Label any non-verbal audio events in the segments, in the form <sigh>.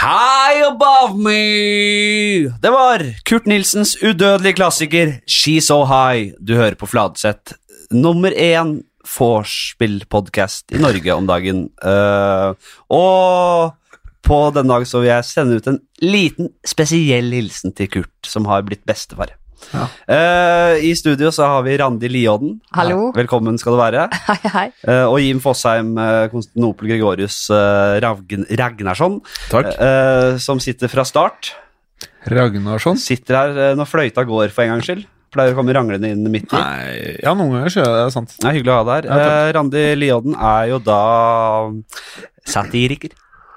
High above me! Det var Kurt Nilsens udødelige klassiker She's So High. Du hører på Fladseth. Nummer én vorspiel-podkast i Norge om dagen. Eh, og på denne dag så vil jeg sende ut en liten spesiell hilsen til Kurt, som har blitt bestefar. Ja. Eh, I studio så har vi Randi Liodden. Hallo. Velkommen skal du være. Hei, hei. Eh, og Jim Fosheim, eh, Konstantinopel Gregorius eh, Ragn Ragnarsson, Takk. eh, som sitter fra start. Ragnarsson? Sitter her eh, når fløyta går, for en gangs skyld. Pleier å komme ranglende inn midt i. Nei Ja, noen ganger så er det sant. Det er hyggelig å ha deg her. Ja, takk. Eh, Randi Liodden er jo da satiriker.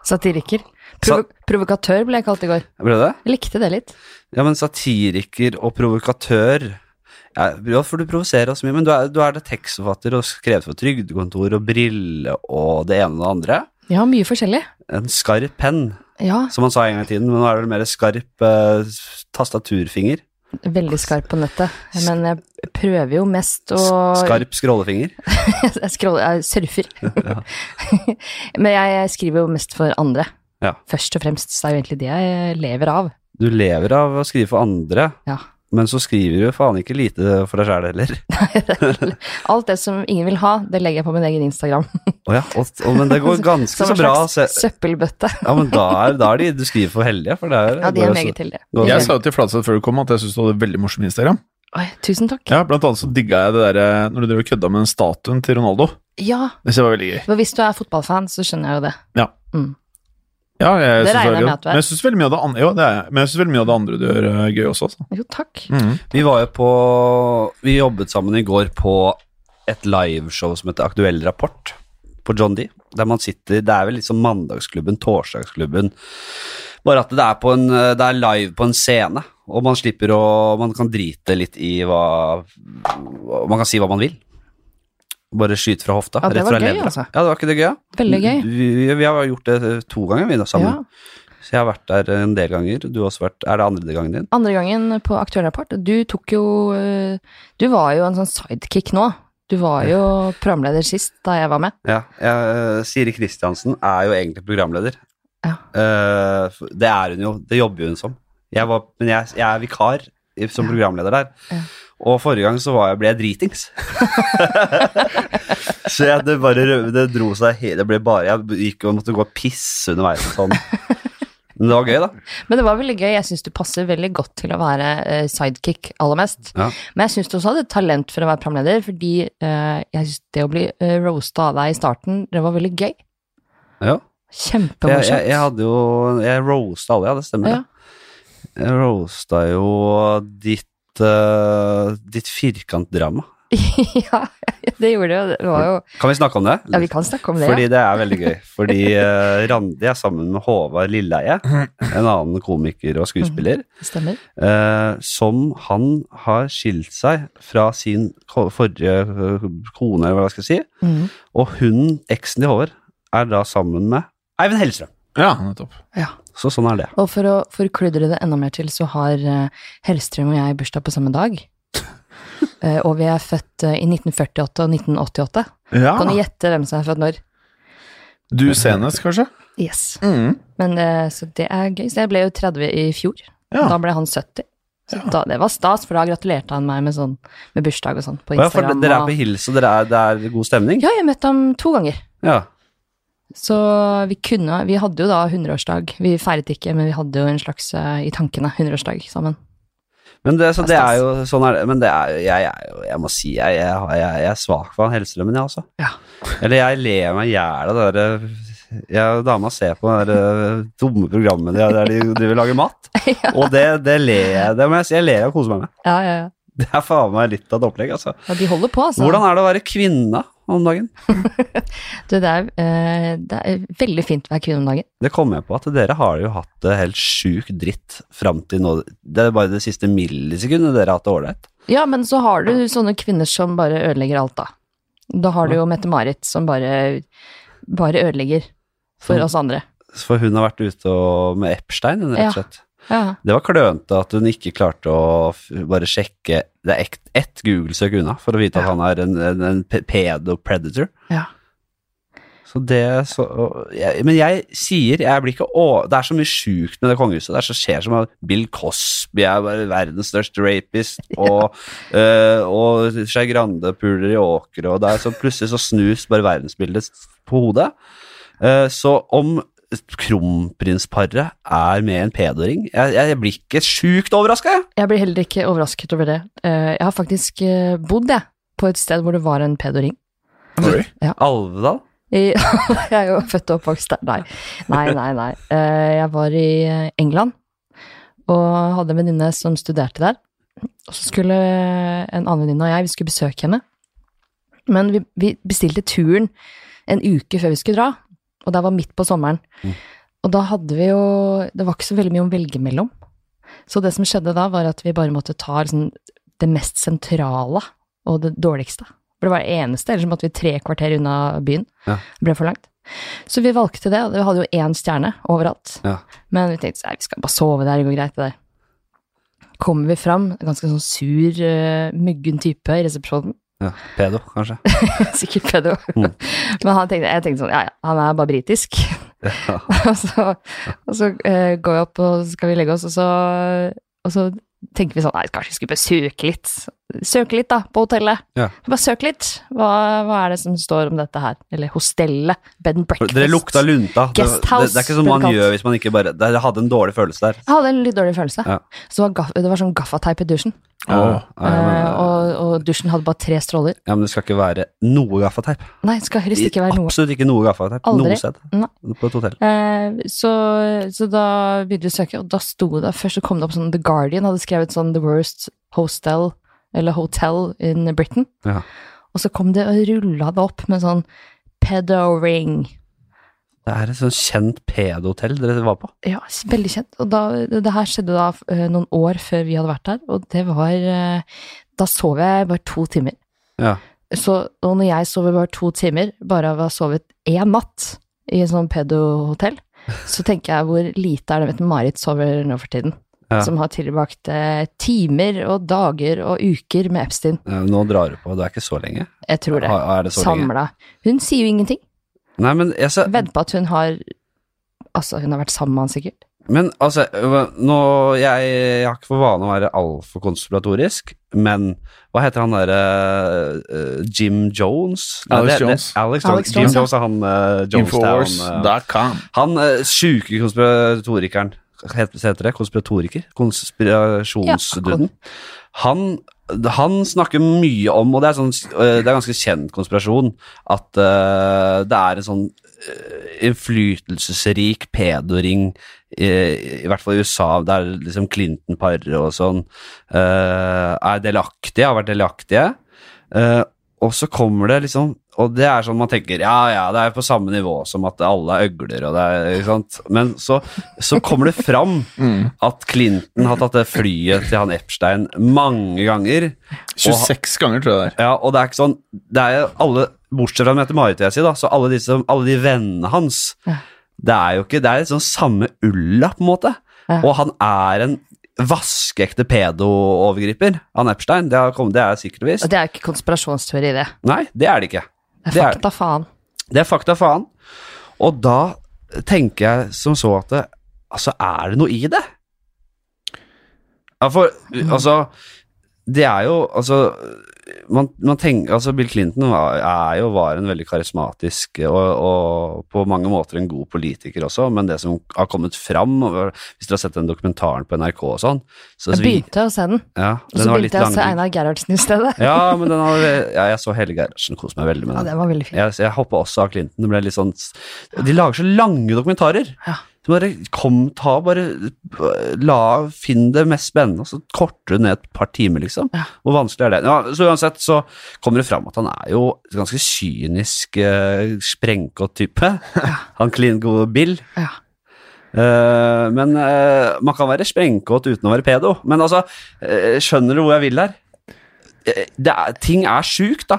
Satiriker. Provo provokatør ble jeg kalt i går. Ble det? Jeg likte det litt. Ja, men satiriker og provokatør ja, ja, for du provoserer oss mye, men du er, du er det tekstforfatter og skrevet for trygdekontor og brille og det ene og det andre. Ja, mye forskjellig. En skarp penn. Ja, som han sa en gang i tiden, men nå er det mer skarp eh, tastaturfinger. veldig skarp på nettet. Men jeg prøver jo mest å Skarp scrollefinger. <laughs> Jeg, scroller, jeg surfer. <laughs> Men jeg skriver jo mest for andre. Ja. Først og fremst. Så det er jo egentlig det jeg lever av. Du lever av å skrive for andre, Ja. <laughs> men så skriver du faen ikke lite for deg sjæl heller. Alt det som ingen vil ha, det legger jeg på min egen Instagram. Å ja, og, og, men det <laughs> går ganske Som så en bra. å slags Se. søppelbøtte. Ja, men da er, da er de du skriver for heldige, for det er Ja, de går er jo meget så- heldige. går Jeg jo så- sa jo til Fladseth før du kom at jeg syntes du hadde veldig morsom Instagram. Oi, Tusen takk. Ja, Blant annet så digga jeg det derre når du drev og kødda med den statuen til Ronaldo. Ja, Det synes jeg var veldig gøy. for hvis du er fotballfan, så skjønner jeg jo det. Ja, jeg Det synes regner var jeg gøy. med at du er. Men jeg syns veldig mye av det andre, jo, det er, jeg. men jeg synes veldig mye av det andre du gjør, er gøy også. Altså. Jo, takk. Mhm. Vi var jo på Vi jobbet sammen i går på et liveshow som heter Aktuell rapport på John D. Der man sitter Det er vel litt som Mandagsklubben, Torsdagsklubben. Bare at det er, på en, det er live på en scene, og man slipper å Man kan drite litt i hva Man kan si hva man vil. Bare skyte fra hofta. Ja, det rett var fra gøy, levra. altså. Ja, det var ikke det gøy? ja? Veldig gøy. Vi, vi- vi har gjort det to ganger, vi da, Ja. sammen. Så jeg har vært der en del ganger. Du har også vært Er det andre gangen din? Andre gangen på Aktuell rapport, du tok jo eh, Du var jo en sånn sidekick nå. Du var jo programleder sist da jeg var med. Ja, jeg, eh, Siri Kristiansen er jo egentlig programleder. Ja. Eh, for- det er hun jo. Det jobber hun som. Jeg var, men jeg, jeg er vikar i- som programleder der. Ja. Og forrige gang så var jeg, ble jeg dritings. <laughs> så jeg, det bare rø- det dro seg he- det ble bare, Jeg gikk og måtte gå og pisse underveis. og Sånn. Men det var gøy, da. Men <laughs> det var veldig gøy. Jeg syns du passer veldig godt til å være eh, sidekick aller mest. Ja. Men jeg syns du også hadde talent for å være programleder, fordi eh, jeg syns det å bli uh, roasta av deg i starten, det var veldig gøy. Ja. Jeg, jeg, Kjempemorsomt. jeg hadde jo Jeg roasta alle, ja. Det stemmer. Ja. det. Jeg roasta jo ditt, uh, ditt firkantdrama. <laughs> ja, det gjorde det. Det var jo Kan vi snakke om det? Ja, vi kan snakke om det. Fordi det er veldig gøy. Fordi eh, Randi er sammen med Håvard Lilleheie, en annen komiker og skuespiller, ja. Stemmer. eh, som han har skilt seg fra sin ko- forrige eh, kone, eller hva jeg skal si. Mhm. Og hun, eksen til Håvard, er da sammen med Eivind Hellstrøm. Ja, nettopp. Ja. Så sånn er det. Og for å forkludre det enda mer til, så har eh, Hellstrøm og jeg bursdag på samme dag. Eh, og vi er født eh, i 1948 og 1988. Ja. Kan du gjette hvem som er født når? Du senest, kanskje? Yes. Mhm. Men eh, så det er gøy. Så jeg ble jo 30 i fjor. Ja. Da ble han 70. Så da, det var stas, for da gratulerte han meg med, sånn, med bursdag og sånn på Å Ja, for Instagram. dere er på og... hils, og dere er, det er god stemning? ja jeg møtte ham to ganger. Ja. Så vi kunne Vi hadde jo da 100-årsdag. Vi feiret ikke, men vi hadde jo en slags eh, i tankene 100-årsdag sammen. <laughs> Men det, så det er Stas. jo sånn er det. Men det er, jo- jeg, er jo Jeg må si jeg, jeg, jeg, jeg er svak for han Hellstrømmen, jeg, altså. Ja. Eller jeg ler meg i hjel av det derre Jeg og dama ser på det der dumme programmet der der de driver og lager mat. Og det, det ler jeg det må jeg si. Jeg ler og koser meg med. Ja, ja, ja. Det er faen meg litt av et opplegg, altså. Ja, de holder på, altså. Hvordan er det å være kvinne om dagen? Du, det er, eh, det er veldig fint å være kvinne om dagen. Det kom jeg på at dere har jo hatt det helt sjukt dritt fram til nå. Det er bare det siste millisekundet dere har hatt det ålreit. Ja, men så har du sånne kvinner som bare ødelegger alt, da. Da har du jo Mette-Marit som bare, bare ødelegger for Som- oss andre. For hun har vært ute og, med Epstein, hun, rett Ja. og slett. Ja, Det var klønete at hun ikke klarte å f- bare sjekke Det er ett ett Google-søk unna for å vite at han er en, en, en pe- pedo-predator. ja. Så det så, og jeg, Men jeg sier jeg blir ikke å, Det er så mye sjukt med det kongehuset der som skjer som at Bill Cosby er ver- verdens største rapist, og, eh, og Skei Grande puler i åkre, og der, så plutselig så snus bare verdensbildet på hodet. Eh, så om kronprinsparet er med en pedoring Jeg, jeg blir ikke sjukt overraska, jeg! Jeg blir heller ikke overrasket over det. Eh, Jeg har faktisk eh, bodd, jeg, på et sted hvor det var en pedoring. Sorry. Alvedal. I, <laughs> jeg er jo født og oppvokst der. Nei, nei, nei. nei. Eh, Jeg var i eh, England og hadde en venninne som studerte der. Og så skulle en annen venninne og jeg, vi skulle besøke henne. Men vi, vi bestilte turen en uke før vi skulle dra, og det var midt på sommeren. Mm. Og da hadde vi jo Det var ikke så veldig mye å velge mellom. Så det som skjedde da, var at vi bare måtte ta liksom, det mest sentrale og det dårligste. For det var det eneste, ellers måtte vi tre kvarter unna byen. Ja. Det ble for langt. Så vi valgte det, og vi hadde jo én stjerne overalt. Ja. Men vi tenkte nei, vi skal bare sove der, det går greit, det der. Kommer vi fram, ganske sånn sur, eh, muggen type i resepsjonen. Ja, pedo, <laughs> kanskje. <laughs> Sikkert pedo. Mm. Men han tenkte, jeg tenkte sånn, ja ja, han er bare britisk. <laughs> Ja. <laughs> og så, og så eh, går jeg opp, og så skal vi legge oss, og så, og så tenker vi sånn, nei, kanskje vi skulle bare søke litt. Søke litt da, på hotellet. Ja. Bare søke litt. Hva, hva er det som står om dette her? Eller hostellet, bed and breakfast. Dere lukta lunta. Det, det, Guesthouse, det er ikke som ble det man kalt. gjør hvis man ikke bare Dere hadde en dårlig følelse der. Jeg hadde en litt dårlig følelse. Ja. Så det var, gaff, det var sånn gaffateip i dusjen. Åh. Ja, ja, men, Eh, og, og dusjen hadde bare tre stråler. ja, men det skal ikke være noe gaffateip. Nei, det skal helst ikke være noe. Absolutt ikke noe gaffateip. Aldri. Noe sted. Nei. På et hotell. Eh, så, så da begynte vi å søke, og da sto det Først så kom det opp sånn The Guardian hadde skrevet sånn The worst hostel eller hotel in Britain. Ja. Og så kom det og rulla det opp med sånn pedo ring. Det er et sånt kjent pedohotell dere var på. Ja, s- veldig kjent. Og da, det det her skjedde da eh, noen år før vi hadde vært der, og det var eh, Da sov jeg bare to timer. Ja. Så, og når jeg sover bare to timer, bare av å ha sovet én natt i en sånn pedohotell, så tenker jeg hvor lite er det Mette-Marit sover nå for tiden. Ja. Som har tilbrakt eh, timer og dager og uker med Epstein. Ja, Nå drar du på, det er ikke så lenge. Jeg tror det. Ha- Er det så lenge? Samla. Hun sier jo ingenting. Nei, men, jeg, ser- Vedd på at hun har Altså, hun har vært sammen med han sikkert. men altså, nå, jeg, jeg har ikke for vane å være altfor konspiratorisk, men hva heter han derre eh, Jim Jones? Nei, Alex det- det- Jones. Alex Alex Jones. Jim Jones, ja. Jones er han uh, Jonestown. eh, Infowars.com. Han eh, sjuke konspiratorikeren het- Heter det konspiratoriker? Konspirasjonsduden. Han, han snakker mye om, og det er, sånn, eh, det er ganske kjent konspirasjon, at eh, det er en sånn eh, innflytelsesrik pedoring eh, i hvert fall i USA, der liksom Clinton-paret og sånn eh, er delaktige, har vært delaktige. Eh, og så kommer det liksom Og det er sånn man tenker Ja, ja, det er på samme nivå som at alle er øgler og det er Ikke sant? Men så, så kommer det fram at Clinton har tatt det flyet til han Epstein mange ganger. 26 ganger, tror jeg det er. Ja, og det er ikke sånn Det er jo alle Bortsett fra Mette-Marit, vil jeg si, da, så alle de, som, alle de vennene hans Ja. Det er jo ikke Det er litt sånn samme ulla, på en måte. Ja. Og han er en vaskeekte pedo-overgriper, han Epstein. Det, har kommet, det er sikkert og Og visst. det er jo ikke konspirasjonsteori, det. Nei, det er det ikke. Det Det er er- fakta, faen. Det er fakta faen. Og da tenker jeg som så at det, Altså, er det noe i det? Ja, for Mhm. altså Det er jo Altså man, man tenker, altså Bill Clinton var, er jo, var en veldig karismatisk og, og på mange måter en god politiker også, men det som har kommet fram og Hvis dere har sett den dokumentaren på NRK og sånn så, Jeg begynte å se den, ja, og så den var litt begynte jeg å se langdryg. Einar Gerhardsen i stedet. Ja, men den har, ja, jeg så Helge Gerhardsen kose meg veldig med Ja, den. den var veldig fin. Jeg, jeg hoppa også av Clinton. Det ble litt sånn De lager så lange dokumentarer. Ja. Så bare kom, ta, bare øh, la, Finn det mest spennende, og så korter du ned et par timer, liksom. Ja. Hvor vanskelig er det? Ja, så uansett så kommer det fram at han er jo et ganske kynisk, uh, sprengkåt type. <laughs> Han klin gode Bill. Ja. Eh, men eh, man kan være sprengkåt uten å være pedo. Men altså, eh, skjønner du hvor jeg vil her? Eh, det er, ting er sjukt, da.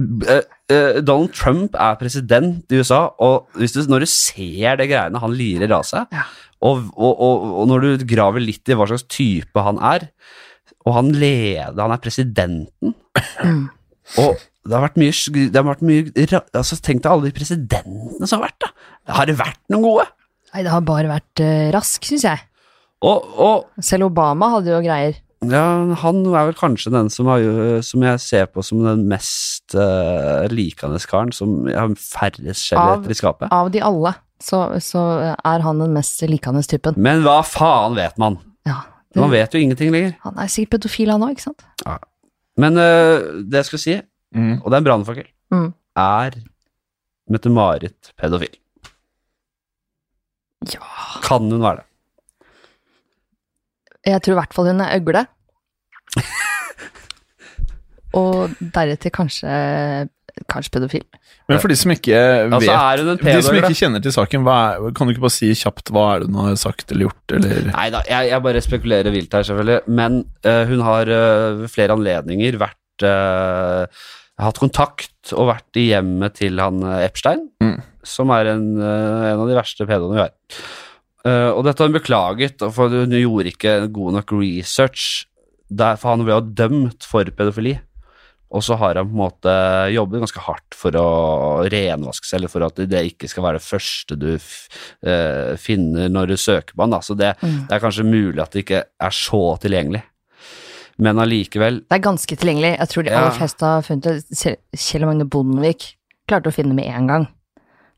Eh, eh, Donald Trump er president i USA, og hvis du, når du ser det greiene han lirer av seg, Ja. og, og, og, og når du graver litt i hva slags type han er, og han leder Han er presidenten. Og Det har vært mye, sk- det har vært mye ra- altså, Tenk deg alle de presidentene som har vært, da. Har det vært noen gode? Nei, det har bare vært eh, rask, syns jeg. Og, og Selv Obama hadde jo greier. ja, han er vel kanskje den som, har, jo- som jeg ser på som den mest eh, likende karen, som har færrest Av- skjellheter i skapet. Av de alle så, så er han den mest likende typen. Men hva faen vet man? Ja. det- Man vet jo ingenting lenger. Han er sikkert pedofil, han òg, ikke sant? Men eh, det jeg skulle si, og det er en brannfakkel, Mm. er Mette-Marit pedofil. Ja. Kan hun være det? Jeg tror i hvert fall hun er <laughs> øgle. Og deretter kanskje, kanskje pedofil. Men for de som ikke vet Altså, er hun en De som pedo? ikke kjenner til saken, hva er, kan du ikke bare si kjapt hva er det hun har sagt eller gjort, eller Nei da, jeg, jeg bare spekulerer vilt her, selvfølgelig. Men eh, hun har eh, ved flere anledninger vært eh, Hatt kontakt og vært i hjemmet til han eh, Epstein, Mm. som er en, eh, en av de verste pedoene vi har. Eh, og dette har hun beklaget, og for hun gjorde ikke god nok research. Der, for han ble jo dømt for pedofili, og så har han på en måte jobbet ganske hardt for å renvaske seg, eller for at det ikke skal være det første du f eh, finner når du søker på han. Da. Så det, Mm. det er kanskje mulig at det ikke er så tilgjengelig. Men allikevel Det er ganske tilgjengelig. Jeg tror de Ja. aller fleste har funnet det. Selv- Kjell Magne Bondevik klarte å finne med en gang.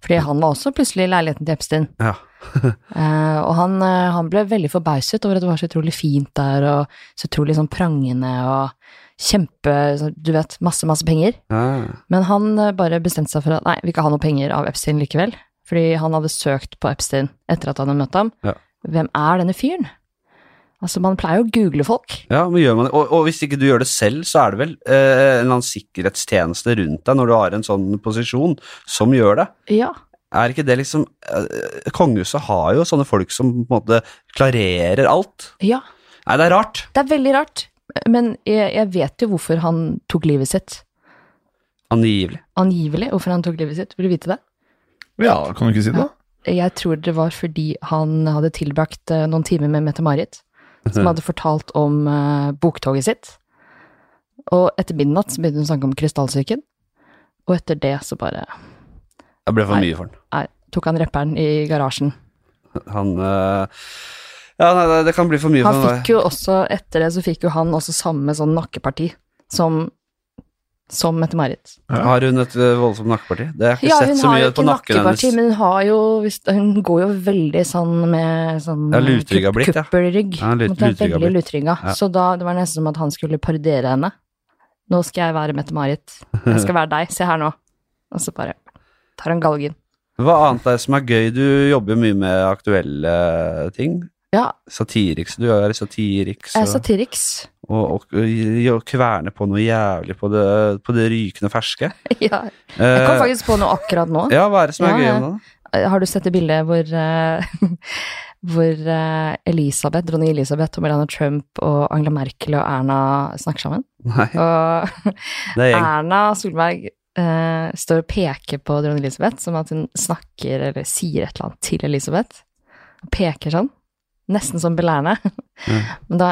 Fordi han var også plutselig i leiligheten til Epstein. ja. Eh, og han, eh, han ble veldig forbauset over at det var så utrolig fint der, og så utrolig sånn prangende og kjempe så- Du vet, masse, masse penger. Men han eh, bare bestemte seg for at nei, vi vil ikke ha noe penger av Epstein likevel. Fordi han hadde søkt på Epstein etter at han hadde møtt ham. Ja. Hvem er denne fyren? Altså, man pleier jo å google folk. Ja, men gjør man det? Og, og hvis ikke du gjør det selv, så er det vel eh, en eller annen sikkerhetstjeneste rundt deg når du har en sånn posisjon, som gjør det. Ja. Er ikke det liksom eh, Kongehuset har jo sånne folk som på en måte klarerer alt. ja. Nei, det er rart. Det er veldig rart, men jeg, jeg vet jo hvorfor han tok livet sitt. Angivelig. Angivelig hvorfor han tok livet sitt, vil du vite det? Ja, kan du ikke si det? Jeg tror det var fordi han hadde tilbrakt eh, noen timer med Mette-Marit, som hadde fortalt om eh, boktoget sitt. Og etter midnatt så begynte hun å snakke om krystallsyken, og etter det så bare Det ble for Nei. mye for han. nei, tok han rapperen i garasjen. Han eh, Ja, nei, nei, det kan bli for mye Han for han. fikk jo også, etter det så fikk jo han også samme sånn nakkeparti som, som Mette-Marit. Har hun et eh, voldsomt nakkeparti? Det har jeg ikke Ja, hun sett så har jo mye ikke på nakken hennes. nakkeparti, men hun har jo hvis- Hun går jo veldig sånn med sånn Ja, lutrygga kupp- blitt, ja. kuppelrygg. Ja, lut- Hun er lutrygga veldig lutrygga. Ja. Så da det var nesten som at han skulle parodiere henne. Nå skal jeg være Mette-Marit. Jeg skal være deg. Se her nå. Og så bare tar han galgen. Hva annet er det som er gøy? Du jobber jo mye med aktuelle ting. Ja, Satiriks. Du er satiriks jeg er og, satiriks. <laughs> og, og, og kverner på noe jævlig på det, på det rykende ferske. Ja, jeg kom Eh, faktisk på noe akkurat nå. ja, hva er det som er Ja, gøy ja. om det? da? Har du sett det bildet hvor, eh, <laughs> hvor eh, Elisabeth, dronning Elisabeth og Melania Trump og Angela Merkel og Erna snakker sammen? <laughs> Nei, Og <laughs> det er gjeng. Erna Solberg eh, står og peker på dronning Elisabeth, som at hun snakker eller sier et eller annet til Elisabeth. Og peker sånn. Nesten som belærende. Ja. <laughs> Men da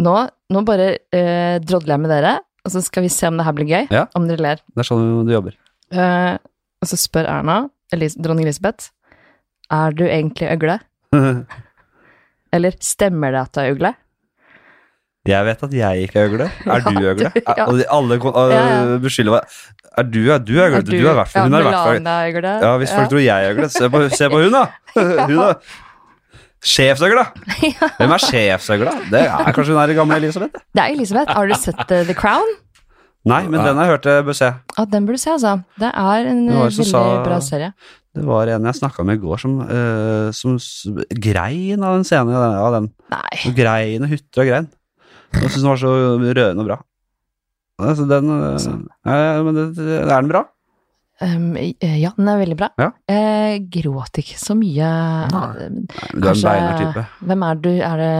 nå, nå bare eh, drodler jeg med dere, og så skal vi se om det her blir gøy. Ja. Om dere ler. Det er sånn du jobber. Eh, og så spør Erna, Elis dronning Elisabeth, er du egentlig <laughs> øgle? Eller stemmer det at du er øgle? Jeg vet at jeg ikke er øgle. Er du øgle? du- ja. Og de- alle kon- øh, Ja, beskylder meg. Er du, er du øgle? Du er i hvert fall Hun er i hvert fall Melania er øgle. Ja, hvis folk tror jeg er øgle, se på, se på <laughs> hun, da. Hun, da. Sjefsøgla! Hvem er sjefsøgla? Det <laughs> er kanskje hun er i gamle Elisabeth? det. Det er Elisabeth. Har du sett eh, The Crown? Nei, men den har jeg hørt eh, jeg bør se. Ja, den burde du se, altså. Det er en Det eh, var det som veldig sa- bra serie. Det var en jeg snakka med i går som, eh, som s- grein av den scenen. Av den. Nei. Og Grein og hutter og grein. Jeg syns den var så rørende og bra. Altså, den eh, eh, Men det, det, er den bra? Um, eh, ja, den er veldig bra. Ja. Eh, gråt ikke så mye. eh, Nei. Nei, men du er en beinar type. Hvem er du? Er det,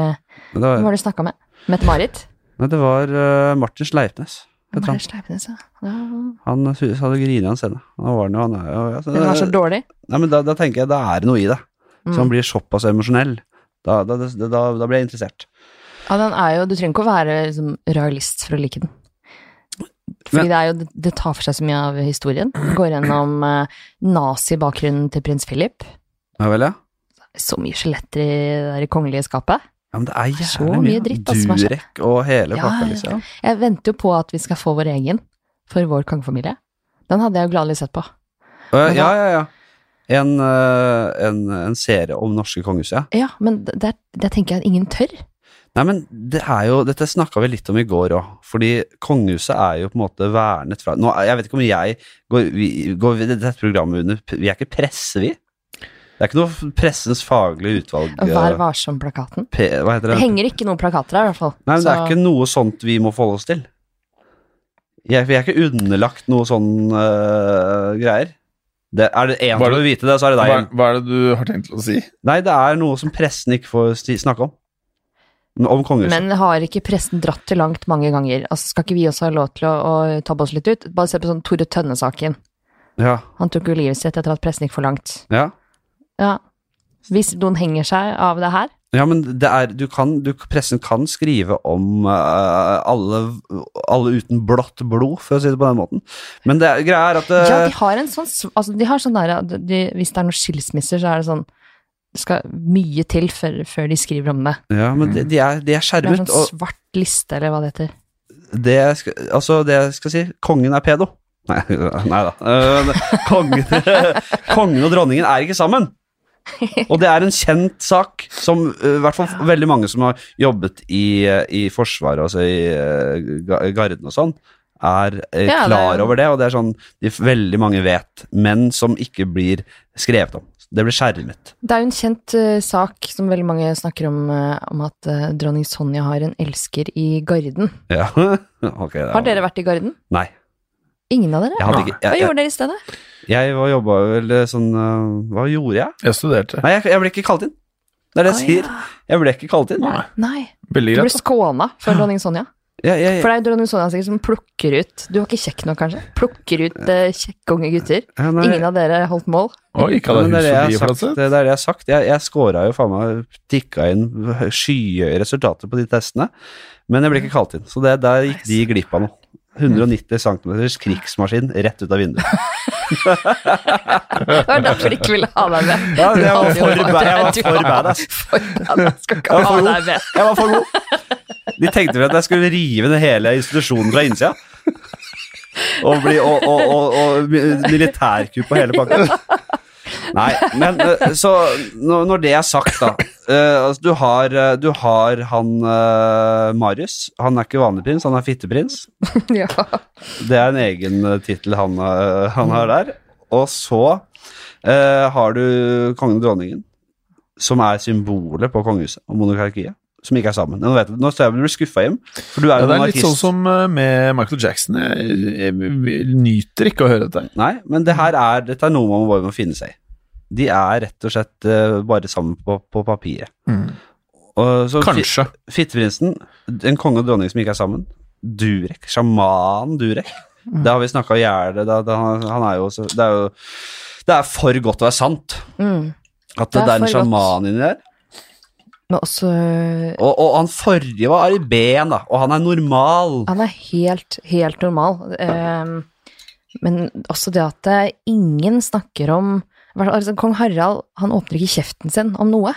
Men Det hvem var, var det du snakka med? Mette-Marit? nei, det var eh, Martin Sleipnes. Vet du han. Marit Sleipnes, ja. Ja. Han sy- hadde grinet av en scene. Han var den jo, han er jo altså, Den var så dårlig. Mm. Nei, men da, da tenker jeg da er det noe i det. Så han blir såpass emosjonell. Da, da, da, da, da blir jeg interessert. Ja, den er jo, du trenger ikke å være liksom, realist for å like den. Fordi Men- det, er jo, det tar for seg så mye av historien. Går gjennom eh, nazibakgrunnen til prins Philip. Ja vel, ja. Så mye skjeletter i det der kongelige skapet. Ja, men det er er så jævlig mye mye. dritt, altså, som har skjedd. Durek og hele Ja, pakka, ja, liksom. Jeg venter jo på at vi skal få vår egen for vår kongefamilie. Den hadde jeg jo gladelig sett på. Å, ja, Men ja, ja. ja. En, eh, en, en serie om norske kongehus, ja. Ja, men d- der, der tenker jeg at ingen tør. Nei, men det er jo, dette snakka vi litt om i går òg, fordi kongehuset er jo på en måte vernet fra nå, Jeg vet ikke om jeg går, vi, går vi dette programmet under Vi er ikke presse, vi. Det er ikke noe pressens faglige utvalg Vær eh, varsom-plakaten. P, Hva heter Det det? henger ikke noen plakater der, i hvert fall. Nei, men det er Så- ikke noe sånt vi må forholde oss til. Jeg, vi er ikke underlagt noe sånn eh, greier. Det, er det én Var som det- vil vite det, så er det deg. Hva, hva er det du har tenkt å si? Nei, det er noe som pressen ikke får sti- snakke om. Om kongehuset. Men har ikke pressen dratt til langt mange ganger? Altså, skal ikke vi også ha lov til å, å tabbe oss litt ut? Bare se på sånn Tore Tønne-saken. Ja, Han tok jo livet sitt etter at pressen gikk for langt. ja. Ja. Hvis noen henger seg av det her Ja, men det er, du kan, du, pressen kan skrive om eh, alle, alle uten blått blod, for å si det på den måten. Men det er- greia er at eh, Ja, de har en sånn sv- altså, De har sånn der at de, Hvis det er noen skilsmisser, så er det sånn Det skal mye til før, før de skriver om det. ja, men de, de, er, de er Det er skjermet. sånn svart liste, eller hva det heter. Og det jeg skal, altså, det jeg skal si, kongen er pedo. Nei, <laughs> nei da. Eh, kongen, <laughs> kongen og dronningen er ikke sammen. Og det er en kjent sak som eh, i hvert fall veldig mange som har jobbet i, eh, i Forsvaret, altså i eh, ga- garden og sånn, er eh, Ja, det er klar jo- over det. Og det er sånn de, f- veldig mange vet, men som ikke blir skrevet om. Det blir skjermet. Det er jo en kjent eh, sak som veldig mange snakker om, eh, om at eh, dronning Sonja har en elsker i Garden. Ja. <laughs> ok, det er- Har dere vært i Garden? Nei. Ingen av dere? Jeg, hadde ikke, Hva jeg, jeg, gjorde dere i stedet? jeg, var jobba vel eh, sånn eh, Hva gjorde jeg? Jeg studerte. Nei, jeg, jeg ble ikke kalt inn. Det er det jeg Å, sier. Jeg ble ikke kalt inn. Nei. Nei, Veldig du ble greit. da. skåna for dronning Sonja. Jeg, jeg, For det er jo dronning Sonja sikkert som plukker ut Du var ikke kjekk nok, kanskje? Plukker ut eh, kjekke unge gutter. ja, nei, Ingen av dere holdt mål. <laughs> Oi, ikke men hadde det er det jeg jeg hus har forbi, sagt. Det er det jeg har sagt. Jeg, jeg scora jo faen meg tikka inn skyhøye resultater på de testene, men jeg ble ikke kalt inn. Så det, der gikk de glipp av noe. 190 cm krigsmaskin rett ut av vinduet. Det var derfor de ikke ville ha deg med. Ja, jeg var Du hadde jo for vært- bad- jeg var du for var badass. For badass. Skal ikke Jeg var ha for deg med. Jeg var for god. De tenkte vel at jeg skulle rive ned hele institusjonen fra innsida. Og, bli, og, og, og, og militærkupp og hele pakka. Nei, men eh, så når når det er sagt, da eh, altså, du, har, eh, du har han eh, Marius. Han er ikke vanlig prins, han er fitteprins. Ja. Det er en egen eh, tittel han, eh, han har der. Og så eh, har du kongen og dronningen, som er symbolet på kongehuset og monarkiet, som ikke er sammen. Nå, vet, jeg- nå står jeg og blir skuffa, Jim, for du er Ja, jo det er litt monarkist. sånn som eh, med Michael Jackson. Jeg, jeg, jeg nyter ikke å høre dette. Nei, men det her er, dette er noe man bare må finne seg i. De er rett og slett eh, bare sammen på, på papiret. Og så fi- Kanskje. Fitteprinsen, en konge og dronning som ikke er sammen. Durek, sjaman Durek. Mm. Det har vi snakka i hjel. Det, det, han, han er jo så- det er jo Det er for godt til å være sant. Mm. At Det det, er en er for godt. sjaman inni der. Men også Og, og han forrige var i ben, da. Og han er normal. Han er helt, helt normal. Ehm, men også det at eh, ingen snakker om hva- altså, Kong Harald han åpner ikke kjeften sin om noe.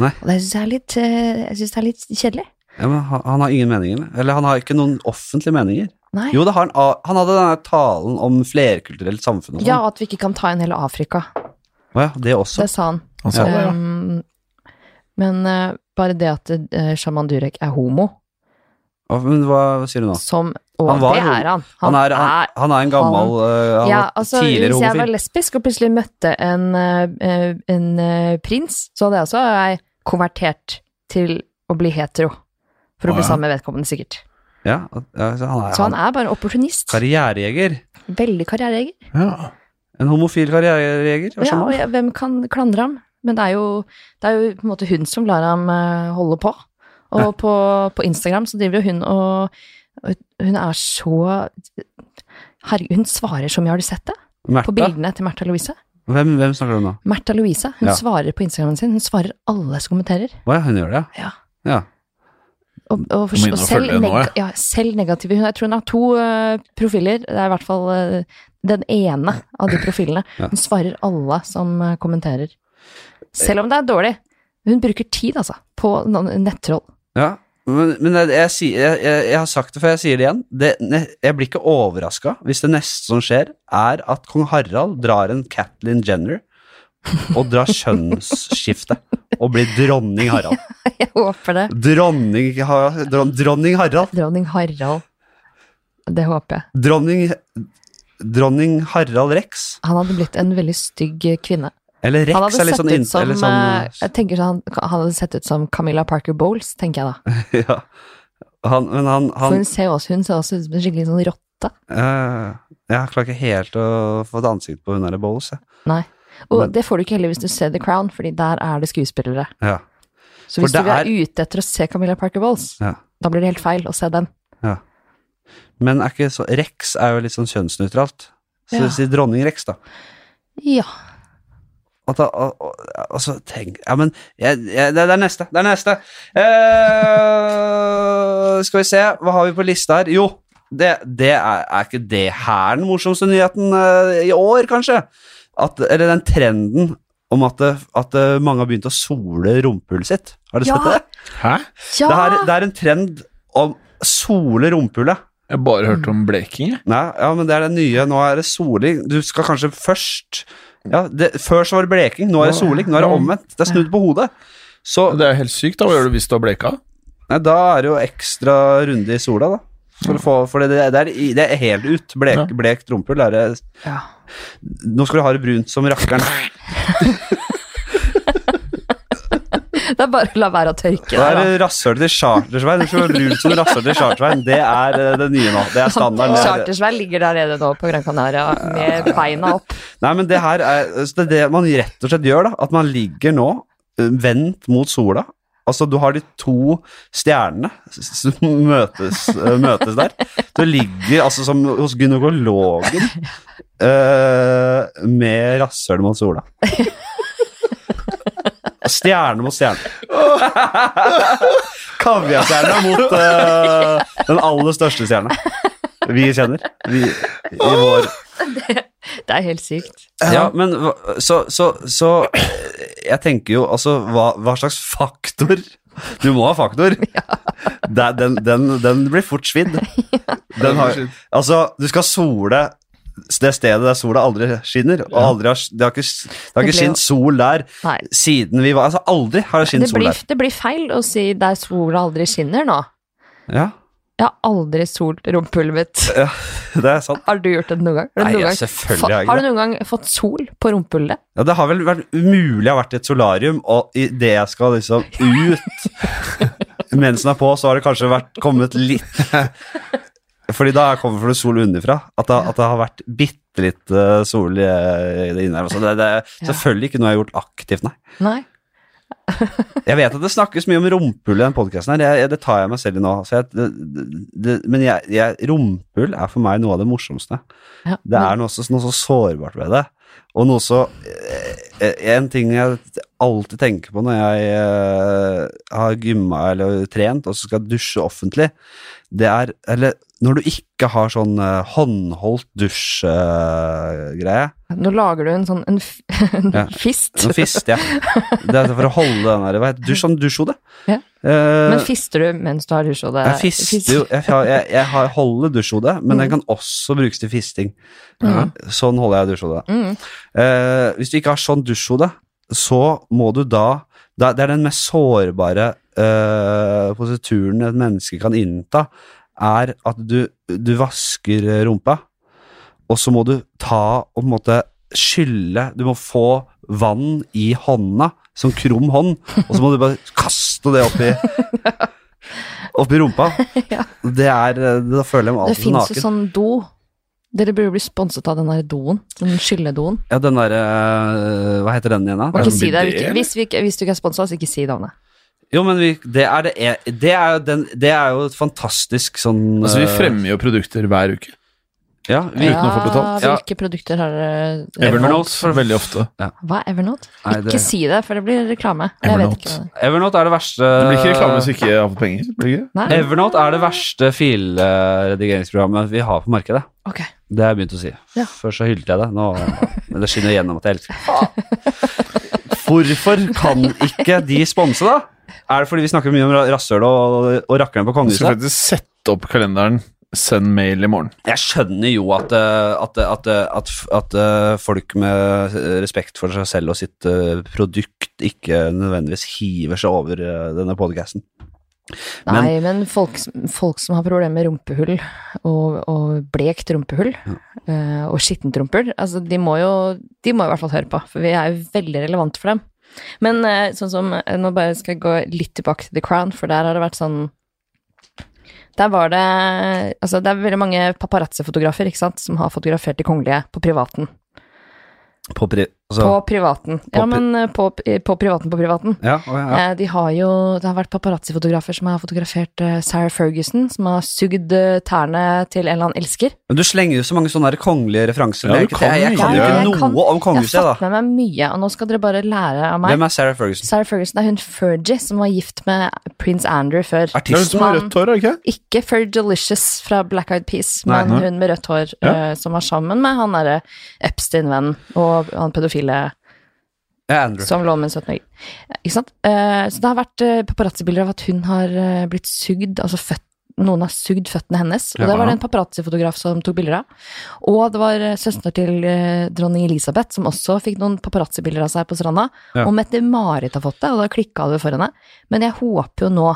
Nei. Og det syns jeg er litt, eh, jeg synes det er litt kjedelig. Ja, men han, han har ingen meninger. eller? Eller han har ikke noen offentlige meninger. Nei. Jo, det har han, a- han hadde denne talen om flerkulturelt samfunn og sånn. ja, og at vi ikke kan ta inn hele Afrika. Å ja, det også. Det sa han. Han sa det, ja. Ehm, men eh, bare det at eh, sjaman Durek er homo, Å, Men hva sier du nå? som Og Han var det homo. er han. Han er, han, han er en gammel eh, han ja, var altså, tidligere hvis jeg var homofil. lesbisk og plutselig møtte en, eh, en eh, prins, så hadde jeg også jeg konvertert til å bli hetero. For å Å, bli ja. sammen med vedkommende, sikkert. Ja, ja, så han er, Så han han, er bare en opportunist. karrierejeger. Veldig karrierejeger. Ja. En homofil karrierejeger. og Ja, sjaman. og jeg, hvem kan klandre ham? Men det er, jo, det er jo på en måte hun som lar ham eh, holde på. Og på, på Instagram så driver jo hun og og Hun er så Herregud, hun svarer så mye, har du sett det? På Märtha? bildene til Märtha Louise. Hvem, hvem snakker du om nå? Märtha Louise, hun Ja. svarer på Instagramen sin. Hun svarer alle som kommenterer. Å ja, hun gjør det, Ja. ja. Og, og, Du må og inn og selv, følge henne nå, neg ja, selv negative hun, Jeg tror hun har to eh, profiler. Det er i hvert fall eh, den ene av de profilene. Ja. Hun svarer alle som eh, kommenterer. Selv om det er dårlig. Hun bruker tid, altså, på noen nettroll. <laughs> Ja, men, men jeg, jeg, sier- jeg, jeg, jeg har sagt det før, jeg sier det igjen. Det, ne- jeg blir ikke overraska hvis det neste som skjer, er at kong Harald drar en Catelyn Jenner og drar kjønnsskifte og blir dronning Harald. Jeg håper det. Dronning, Ha- dron, dronning Harald. Dronning Harald. Det håper jeg. Dronning, dronning Harald Rex. Han hadde blitt en veldig stygg kvinne. Eller Han Rex hadde er litt sett sånn ut inn- som, eller sånn, eh, jeg tenker sånn, han hadde sett ut som Camilla Parker Bowles, tenker jeg da. <laughs> ja. han, Men han, For han hun ser også, hun ser også ut som en skikkelig sånn rotte. eh, Jeg klarer ikke helt å få et ansikt på hun der Bowles, jeg. Nei. Og Men- det får du ikke heller hvis du ser The Crown, fordi der er det skuespillere. Ja. Så For hvis du det er ute etter å se Camilla Parker Bowles, Ja. da blir det helt feil å se den. Men er ikke så, Rex er jo litt sånn kjønnsnøytralt. Så Ja. si dronning Rex, da. Ja. At da og, og, altså, tenk Ja, men jeg, jeg, det, det er neste. Det er neste. Eh, skal vi se, hva har vi på lista her? Jo, det, det er, er ikke det her den morsomste nyheten eh, i år, kanskje? At, eller den trenden om at, det- at eh, mange har begynt å sole rumpehullet sitt. Har dere Ja. sett det? Hæ? Ja! Det, er, det er en trend om sole rumpehullet. Jeg har bare hørte om bleking, jeg. Nei, ja, men det er det nye. Nå er det soling. Du skal kanskje først ja, det, Før så var det bleking, nå er det soling. Nå er det omvendt. Det er snudd på hodet. Så Det er jo helt sykt, da. Hva gjør du hvis du har bleka? nei, da er det jo ekstra runde i sola, da. For, å få, for det, det, er, i- det er helt ut. Ja. Blek, blekt rumpehull er det Ja. Nå skal du ha det brunt som rakkeren. Det er bare å la være å tørke Da er deg, da. det rasshølet til Chartersveien. Du skal være brunt som rasshølet til Chartersveien. Det er eh, det nye nå. Det er standarden. Det er- Chartersveien ligger der nede nå på Gran Canaria med beina opp. Nei, men det her er så det, er det man rett og slett gjør, da. At man ligger nå eh, vendt mot sola. Altså, du har de to stjernene s- som møtes, eh, møtes der. Du ligger altså som hos gynekologen eh, med rasshølet mot sola. Stjerne mot stjerne. Kaviarstjerna mot eh, den aller største stjerna vi kjenner vi, i vår Det er helt sykt. ja, men hva- så, så, så Jeg tenker jo altså hva, hva slags faktor Du må ha <laughs> faktor. Det- Den, den, den blir fort svidd. Den har, altså, du skal sole det stedet der sola aldri skinner. Og aldri har, det har ikke, det har ikke Det ble jo- skint sol der Nei. siden vi var Altså, aldri har det skint Det sol blir, der. det blir feil å si der sola aldri skinner nå. Ja, <laughs> Jeg har aldri solt rumpehullet mitt. det er sant. Har du gjort det noen gang? Har du Nei, noen gang selvfølgelig har jeg ikke Har du noen gang fått sol på rumpehullet? Ja, det har vel vært umulig å ha vært i et solarium, og idet jeg skal liksom ut mens den er på, så har det kanskje vært kommet litt Fordi da kommer det sol underfra. At det, at det har vært bitte litt eh, sol i i det inne her. Så det, det er Ja. selvfølgelig ikke noe jeg har gjort aktivt, nei. Nei. Jeg vet at det snakkes mye om rumpehull i den podkasten her, jeg, jeg, det tar jeg meg selv i nå. Så jeg, det, det, men jeg, jeg, rumpehull er for meg noe av det morsomste. Ja, Det men- er noe så, noe så sårbart ved det. Og noe så eh, En ting jeg alltid tenker på når jeg eh, har gymma eller trent og så skal dusje offentlig, det er Eller når du ikke har sånn eh, håndholdt dusjgreie. Nå lager du en sånn en, f <laughs> en Ja. fist. Nå fister jeg. Det er for å holde den der Hva heter det? Dusj sånn dusjhode. Ja. Eh, Men fister du mens du har dusjhode? jeg fister jo Jeg, har- jeg, jeg har- holder dusjhodet, men Mm. den kan også brukes til fisting. Sånn holder jeg dusjhodet. Mm. Eh, hvis du ikke har sånn dusjhode, så må du da, da Det er den mest sårbare eh, posituren et menneske kan innta, er at du, du vasker eh, rumpa, og så må du ta og på en måte skylle Du må få vann i hånda, som krum hånd, og så må du bare kaste det <laughs> oppi Oppi rumpa. Ja. Det er eh, Da føler jeg meg Det alltid fins jo naken. sånn do. Dere burde bli sponset av den der doen. Den skylledoen. Ja, den derre Hva heter den igjen, da? Må Er ikke det si det. bidé, Ikke- eller? Hvis, vi, ikke- hvis du ikke er sponsa, så ikke si navnet. Jo, men vi, det, er det, e- det, er jo den, det er jo et fantastisk sånn Altså, vi eh, fremmer jo produkter hver uke. Ja, vi, Uten å få betalt. Ja. Hvilke produkter har dere Evernote for veldig ofte. Hva er Evernote? Nei, det- Ikke si det, for det blir reklame. Jeg vet Evernote. ikke hva det er. Evernote er det verste Det blir ikke reklame hvis vi ikke har fått penger. Blir det ikke? Nei? Evernote er det verste filredigeringsprogrammet vi har på markedet. Ok. Det har jeg begynt å si. Ja. Før så hylte jeg det. Nå, men det skinner gjennom at jeg elsker det. Faen. Hvorfor kan ikke de sponse, da? Er det fordi vi snakker mye om ra- rasshøl og, og rakkeren på Vi skal kongehuset? faktisk sette opp kalenderen. Send mail i morgen. Jeg skjønner jo at, eh, at, at, at, at eh, folk med eh, respekt for seg selv og sitt eh, produkt ikke nødvendigvis hiver seg over eh, denne podcasten. Men- Nei, men folk, som- folk som har problemer med rumpehull og, og blekt rumpehull eh, og skittent rumpehull, altså de må jo de må i hvert fall høre på, for vi er jo veldig relevant for dem. Men eh, sånn som eh, Nå bare skal jeg gå litt tilbake til The Crown, for der har det vært sånn Der var det Altså, det er veldig mange paparazzi-fotografer, ikke sant, som har fotografert de kongelige på privaten. På pri... Altså, På privaten. Ja, pri- men eh, på, på privaten på privaten. Ja, å ja, ja. Eh, De har jo, det har vært paparazzi-fotografer som har fotografert eh, Sarah Ferguson, som har sugd eh, tærne til en eller annen elsker. Men du slenger jo så mange sånne her kongelige referanser. Ja, men jeg, du kan, jeg, jeg kan kan jo mye. ikke Jeg noe kan- om kongehuset, jeg jeg, har fått med meg mye, og nå skal dere bare lære av da. meg. Hvem er Sarah Ferguson? Sarah Ferguson er hun Fergie som var gift med prins Andrew før. Det er hun Artisten? som har rødt hår, er det ikke? Ikke Fergalicious fra Black Eyed Peas, Nei. men Nei. hun med rødt hår Ja. eh, som var sammen med han derre Epstein-vennen og han pedofile Ja, Andrew. Som lå med en 17-åring. Eh, Ikke sant? Eh, Så det har vært eh, paparazzi-bilder av at hun har eh, blitt sugd, altså født noen har sugd føttene hennes, og det Ja. var det en paparazzi-fotograf som tok bilder av. Og det var eh, søster til eh, dronning Elisabeth som også fikk noen paparazzi-bilder av seg på stranda. Ja. Og Mette-Marit har fått det, og da klikka det for henne. Men jeg håper jo nå,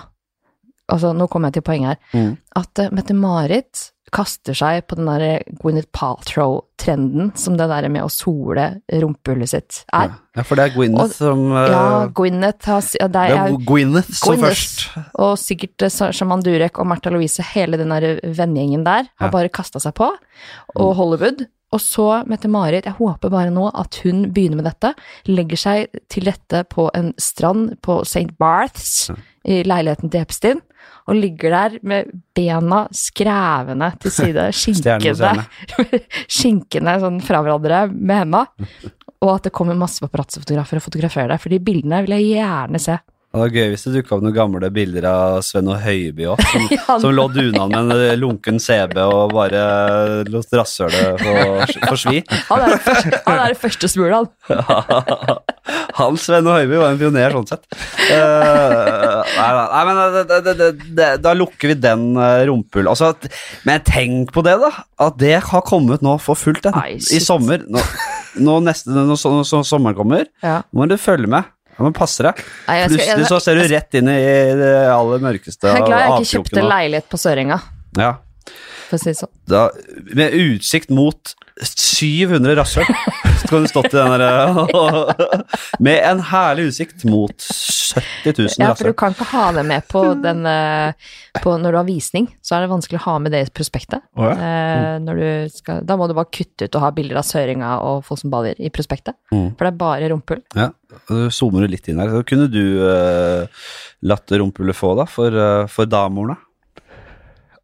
altså nå kommer jeg til poenget her, Mm. at eh, Mette-Marit kaster seg på den der Gwyneth Paltrow-trenden som det der med å sole rumpehullet sitt er. Ja, for det er Gwyneth Og- som eh, Ja, Gwyneth har si- ja, der Det er er jo- Gwyneth som Gwyneth. først. Og sikkert eh, Sa- Shaman Durek og Martha Louise, hele den der eh, vennegjengen der, har Ja. bare kasta seg på. Og Hollywood. Og så Mette-Marit. Jeg håper bare nå at hun begynner med dette. Legger seg til rette på en strand på St. Barths i leiligheten til Epstein. Og ligger der med bena skrevne til side, <laughs> Stjerne mot skinkende, <laughs> skinkende sånn fra hverandre med henda. Mm. Og at det kommer masse paparazzi-fotografer og fotograferer deg. For de bildene vil jeg gjerne se. Ja, Det var gøy hvis det dukka opp noen gamle bilder av Sven og Høiby òg, som, Ja. som lå duna med en eh, lunken CB og bare lot rasshølet få- få svi. Han er, han er det første smulet, han. Han Sven og Høiby var en pioner sånn sett. Eh, nei, nei, nei, men det, det, det, det, da lukker vi den uh, rumpehull. Altså, at- men tenk på det, da! At det har kommet nå for fullt den, Nei, i shit. sommer. Nå, nå neste, når, så, når så, sommeren kommer, Ja. nå må du følge med. Nå må du passe deg. Nei, jeg skal- Plutselig så ser du rett inn i det aller mørkeste Jeg er glad jeg ikke avkroken kjøpte nå. leilighet på Sørenga, Ja, for å si det sånn. da, med utsikt mot 700 rasshøl, så kan du stått i den der <laughs> Med en herlig utsikt mot 70 000 Ja, for rasshøl. du kan ikke ha det med på den eh, på, Når du har visning, så er det vanskelig å ha med det i prospektet. Å ja. Mm. Eh, når du skal, da må du bare kutte ut og ha bilder av Sørenga og folk som bader i prospektet. Mm. For det er bare rumpehull. Ja, og så zoomer du litt inn her. Så kunne du eh, latt rumpehullet få, da, for, uh, for damorna?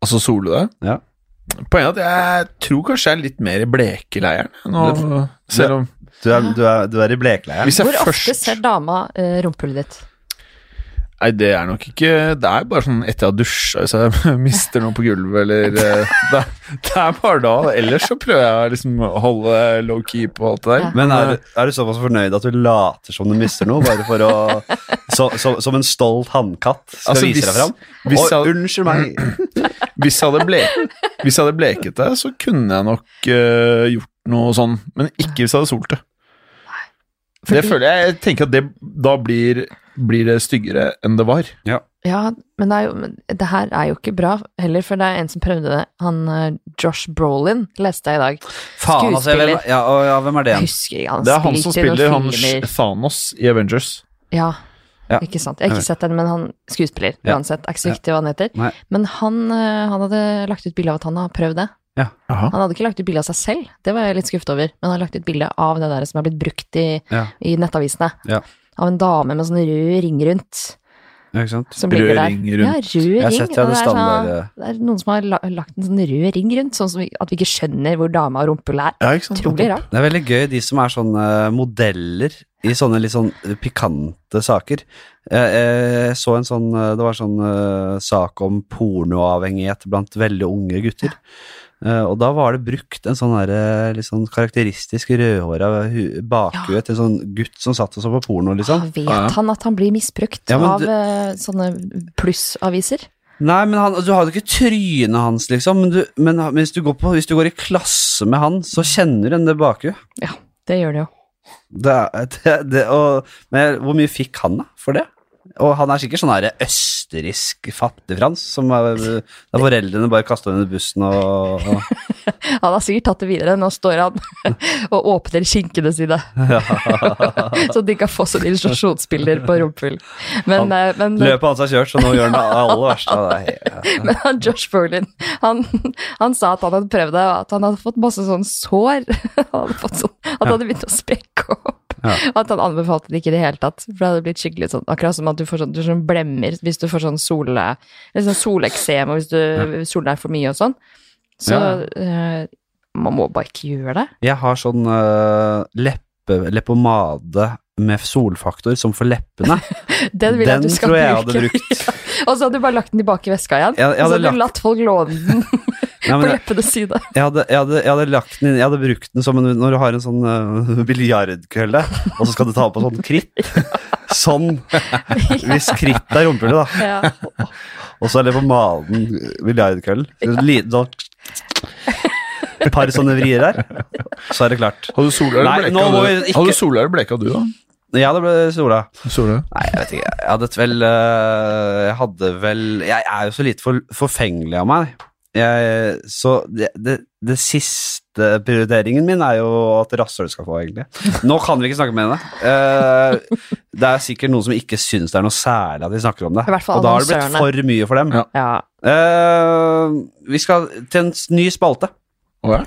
Altså sole deg. Ja. Poenget er at jeg tror kanskje jeg er litt mer i blekeleiren. Nå, selv om Du er, du er, du er i blekleiren? Hvis jeg Hvor ofte først ser dama eh, rumpehullet ditt? Nei, det er nok ikke Det er bare sånn etter jeg har dusja, hvis jeg <laughs> mister noe på gulvet, eller eh, <laughs> det, er- det er bare da. Ellers så prøver jeg liksom å holde low key på alt det der. Ja. Men er, er du såpass fornøyd at du later som du mister noe, bare for <laughs> å så, så, Som en stolt hannkatt skal Altså, vise deg hvis- fram? hvis Oi, jeg- unnskyld meg. Hvis jeg hadde, ble, hvis jeg hadde bleket det, så kunne jeg nok eh, gjort noe sånn, men ikke hvis jeg hadde solt det. Det føler jeg, jeg tenker at det da blir, blir det styggere enn det var. Ja, men det, er jo, men det her er jo ikke bra heller, for det er en som prøvde det. Han eh, Josh Brolin leste jeg i dag. Faen, altså, hvem, Skuespiller. ja, og, ja, hvem er det Jeg igjen? husker ikke, han Det er han som spilte i noen spiller han filmer. Thanos i Avengers. Ja. Ja. Ikke sant. Jeg har ikke sett den, men han skuespiller Ja. uansett. Er ikke så viktig hva han heter. Nei. Men han, eh, han hadde lagt ut bilde av at han har prøvd det. Han hadde ikke lagt ut bilde av seg selv, det var jeg litt skuffet over, men han har lagt ut bilde av det der som er blitt brukt i, Ja. i nettavisene. Ja. Av en dame med sånn rød ring rundt. Ja, ikke sant? som ligger der. Røring rundt. Ja, rød ring. Jeg har sett og ja, det er standard... sånn, det er noen som har la- lagt en sånn rød ring rundt, sånn som vi, at vi ikke skjønner hvor dame og rumpehull er. Ja, ikke sant? Utrolig rart. Det er veldig gøy, de som er sånne modeller i sånne litt sånn eh, pikante saker. Jeg, jeg så en sånn eh, Det var sånn eh, sak om pornoavhengighet blant veldig unge gutter. Eh, og da var det brukt en sånn derre litt sånn karakteristisk rødhåra hu- bakhue til en sånn gutt som satt og så på porno, liksom. Ah, vet Ja, ja. han at han blir misbrukt Ja, men av du- eh, sånne plussaviser? Nei, men han, du har jo ikke trynet hans, liksom. Men, du, men han- hvis, du går på, hvis du går i klasse med han, så kjenner du den det bakhue. Det gjør det jo. Det, er- <laughs> det, det, og, men hvor mye fikk han da, for det? Og han er sikkert sånn her østerriksk fattigfrans, som er, der foreldrene bare kaster henne under bussen og, og <laughs> Han har sikkert tatt det videre. Nå står han <laughs> og åpner skinkene <laughs> sine. så de kan få sånne illustrasjonsbilder på rumpehull. Men, Han eh, men, løpet hans er kjørt, så nå gjør han det aller verste. av det. <laughs> men han Josh Brolin, han, han sa at han hadde prøvd det, og at han hadde fått masse sånn sår. <laughs> Han hadde fått sånn, at det hadde begynt å sprekke opp. Ja. Og at han anbefalte det ikke i det hele tatt. For det hadde blitt skikkelig sånn, akkurat som at du får sånn, du får sånn blemmer hvis du får sånn sole, eller sånn soleksem, og hvis du soler deg for mye og sånn. Så eh, man må bare ikke gjøre det. Jeg har sånn øh, leppe, leppepomade med solfaktor som for leppene. Den vil jeg at du skal tror jeg jeg bruke. hadde brukt. <laughs> Og så hadde du bare lagt den tilbake i veska igjen. Jeg- jeg og så hadde hadde du latt folk låne den Nei, på men jeg, leppenes side. jeg, hadde, jeg, hadde, jeg hadde lagt den inn, jeg hadde brukt den som en, når du har en sånn øh, <laughs> biljardkølle, og så skal du ta på sånn kritt. Sånn. Hvis kritt er rumpehullet, da. Ja. Og så er det på malen eh, biljardkøll. Et par sånne vrier der, så er det klart. Hadde du sola eller Nei, nå bleka må du? vi ikke- Hadde du sola eller bleka du, da? Ja, det ble sola. Sola? Nei, jeg vet ikke. Jeg hadde et vel øh, Jeg hadde vel Jeg er jo så lite for, forfengelig av meg. Jeg, så det, det, det siste prioriteringen min er jo at rasshøl skal få, egentlig. Nå kan vi ikke snakke med henne. Eh, det er sikkert noen som ikke syns det er noe særlig at vi snakker om det. I hvert fall Og da har det blitt annonsørene. for mye for dem. Ja. ja. Eh, vi skal til en s- ny spalte. Å ja.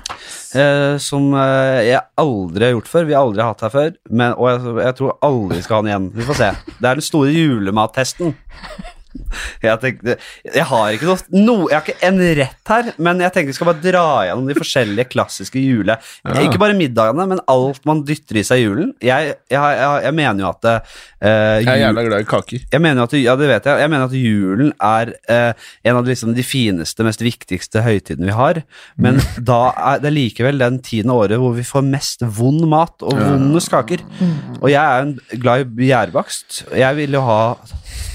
Eh, som eh, jeg aldri har gjort før. Vi har aldri hatt her før. Men, og jeg, jeg tror aldri skal ha den igjen. Vi får se. Det er den store julemattesten. Jeg, tenkte, jeg har ikke noe no, Jeg har ikke en rett her, men jeg tenker vi skal bare dra gjennom de forskjellige klassiske jule... Ja. Ikke bare middagene, men alt man dytter i seg i julen. Jeg, jeg, har- jeg, har- jeg mener jo at eh, Jeg er jul- jævla glad i kaker. jeg mener at, ja, det vet jeg. Jeg mener at julen er eh, en av de, liksom, de fineste, mest viktigste høytidene vi har. Men da er det likevel den tiende året hvor vi får mest vond mat og vondest kaker. Og jeg er en glad i gjærbakst. Jeg vil jo ha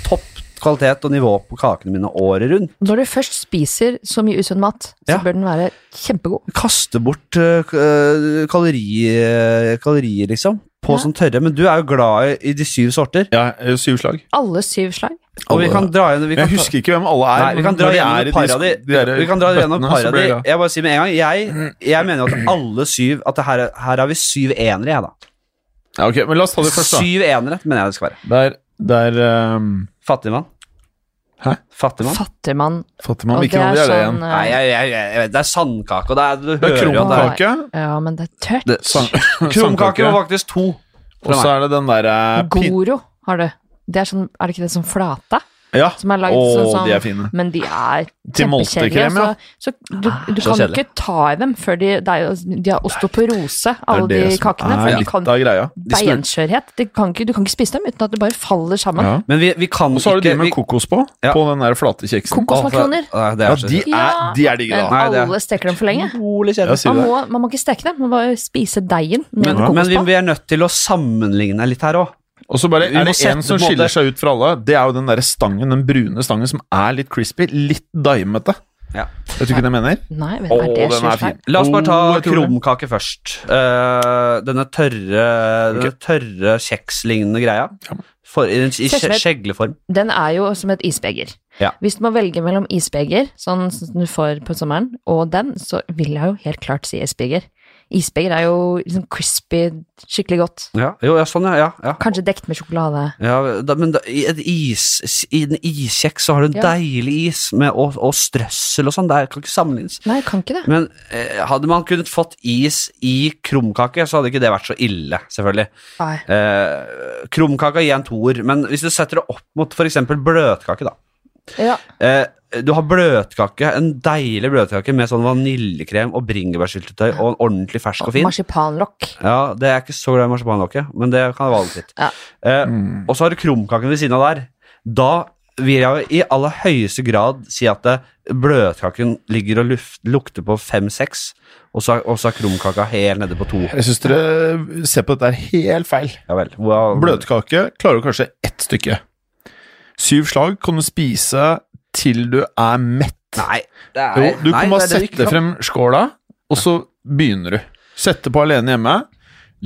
topp kvalitet og nivå på kakene mine året rundt. Når du først spiser så mye usunn mat, så Ja. bør den være kjempegod. Kaste bort eh, k- eh, kalorier, kalorier, liksom. På Ja. sånn tørre. Men du er jo glad i, i de syv sorter. Ja, eh, syv slag. Alle syv slag. Og vi kan dra igjen vi kan Jeg ta- husker ikke hvem alle er. Nei, vi kan men dra når de er i gjennom de para sk- di. de der Vi kan dra gjennom bøttene, så para blir di. jeg glad. Jeg bare sier med en gang, jeg, jeg mener jo at alle syv At det her, er- her har vi syv enere, jeg, da. Ja, ok, men la oss ta det først, da. Syv enere mener jeg det skal være. Der, der ehm, Fattigmann. Hæ? Fattigmann? Fattigmann. Fattigmann, Og hvilken av de er det igjen? eh, Nei, jeg, jeg, jeg, jeg, det er sandkake, og det er du Det er øh, hører jo at det er- krumkake. Ja, men det er tørt. det- <laughs> <laughs> Krumkake var faktisk to. Og så er det den derre pin... Goro har du. Det er, sånn, er det ikke det som flate? Ja. Som er Å, laget sånn, sånn de er fine. Men de er Til kjempekjedelige. multekrem, ja. Så, så du, du Så kan jo kjedelig. ikke ta i dem før de det er jo, De har osteoporose, alle det de som kakene. er For de litt kan av greia. smør- beinskjørhet. De kan ikke, du kan ikke spise dem uten at du bare faller sammen. Ja. Men vi, vi kan Og så har du de ikke med vi- kokos på, Ja. på den der flate kjeksen. Å, for- Kokosmakroner. Nei, Det Ja, er så de er, Ja. de er digge, Men da. Nei, det er- Mm. alle steker dem for lenge. utrolig Ja, kjedelig. sier Man du det. må, man må ikke steke dem, man må bare spise deigen med Men, Ja. men kokos vi, på. vi er nødt til å sammenligne litt her òg. Og så bare Vi må er det sette en som på en måte- skiller seg ut fra alle. Det er jo den derre stangen, den brune stangen som er litt crispy, litt daimete. Ja. Vet du ikke hva jeg mener? Nei, vet, Å, er det den er sjukt feil? fin. La oss bare ta Å, Oh, jeg tror det. krumkake først. Eh, denne tørre Denne tørre kjekslignende greia. Ja. For, I i Ser ut som skje- et- skjegleform. Den er jo som et isbeger. Ja. Hvis du må velge mellom isbeger, sånn som du får på sommeren, og den, så vil jeg jo helt klart si isbeger. Isbeger er jo liksom crispy, skikkelig godt. Ja, jo, ja, sånn, ja. ja, ja. Kanskje dekt med sjokolade. Ja, da, men da, i, et is, i en iskjeks så har du Ja. deilig is med, og, og strøssel og sånn. Det kan ikke sammenlignes. Nei, kan ikke det. Men eh, hadde man kunnet fått is i krumkake, så hadde ikke det vært så ille, selvfølgelig. Nei. Eh, krumkake gir en toer, men hvis du setter det opp mot f.eks. bløtkake, da. Ja. Eh, du har bløtkake, en deilig bløtkake med sånn vaniljekrem og bringebærsyltetøy og ordentlig fersk og fin. Marsipanlokk. Ja, det er jeg ikke så glad i marsipanlokket, men det kan jeg valge litt. Ja. Eh, Mm. Og så har du krumkaken ved siden av der. Da vil jeg jo i aller høyeste grad si at det, bløtkaken ligger og luft, lukter på fem-seks, og så er- og så er krumkaka helt nede på to. Jeg syns dere ser på dette her helt feil. Ja vel. Wow. Bløtkake klarer du kanskje ett stykke. Syv slag kan du spise til du er mett. Nei, det er, Jo, du nei, kan det bare er det du ikke sette kan. frem skåla, og så begynner du. Sette på alene hjemme,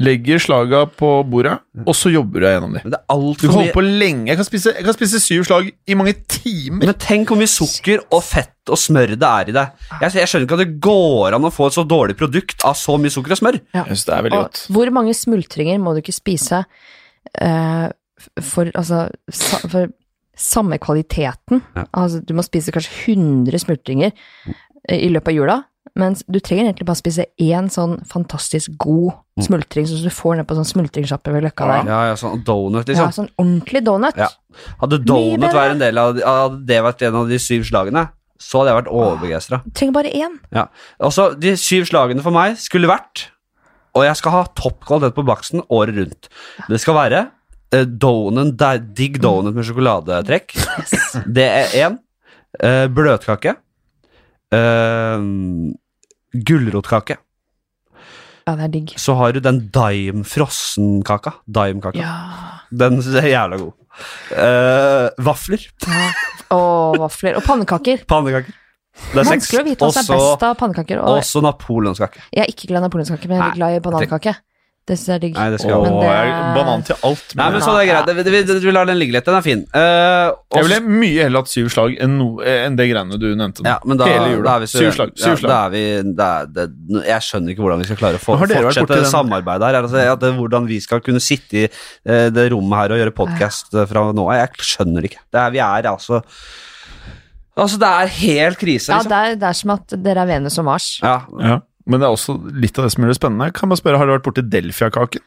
legger slaga på bordet, og så jobber du deg gjennom de. Men det er Du altfor kan mye holde på lenge. Jeg kan spise, jeg kan spise syv slag i mange timer. Men tenk hvor mye sukker og fett og smør det er i det. Jeg, jeg skjønner ikke at det går an å få et så dårlig produkt av så mye sukker og smør. Jeg synes det er veldig Og godt. hvor mange smultringer må du ikke spise eh, f- for, altså, sa, for samme kvaliteten? Ja. Altså, du må spise kanskje 100 smultringer eh, i løpet av jula, mens du trenger egentlig bare spise én sånn fantastisk god smultring, sånn som du får ned på sånn smultringsjappe ved Løkka der. Mm. Ja, ja, sånn donut, Ja, liksom. sånn ordentlig donut. Ja. Hadde Mye donut bedre. vært en del av Hadde det vært en av de syv slagene, så hadde jeg vært overbegeistra. Du trenger bare én. Ja. Altså, de syv slagene for meg skulle vært Og jeg skal ha topp kvalitet på baksten året rundt. Det skal være eh, donut, de- digg donut med sjokoladetrekk. Yes. Det er én. Eh, bløtkake. Eh, Gulrotkake. Ja, det er digg. Så har du den dime frossenkaka. Dime-kaka. Ja. Den syns jeg er jævla god. Eh, vafler. Og vafler. Og pannekaker. Pannekaker. Det er seks. Vanskelig å vite hva som er Også- best av pannekaker. Og Også napoleonskake. jeg er ikke glad i napoleonskake, men jeg er glad i banankake. Det syns jeg er digg. Nei, det skal Åh, jeg Men det- jeg banan til alt. Nei, men så det er greit. Det- det- det- Vi lar den ligge litt. Den er fin. Eh, også- Jeg ville mye heller hatt syv slag enn, no, enn det greiene du nevnte. nå. ja, men da, Hele da jula. er vi så- syv slag. Syv ja, slag. da er vi, da er det, jeg skjønner ikke hvordan vi skal klare å få, Men har dere vært fortsette borti den- samarbeidet her. Altså, at det, hvordan vi skal kunne sitte i eh, det rommet her og gjøre podkast fra nå av. Jeg skjønner det ikke. Det er, vi er altså Altså, det er helt krise, Ja, liksom. det er, det er som at dere er Venus og Mars. Ja, Ja, Ja, Men det er også litt av det som gjør det spennende. Kan man spørre, Har du vært borti Delfia-kaken?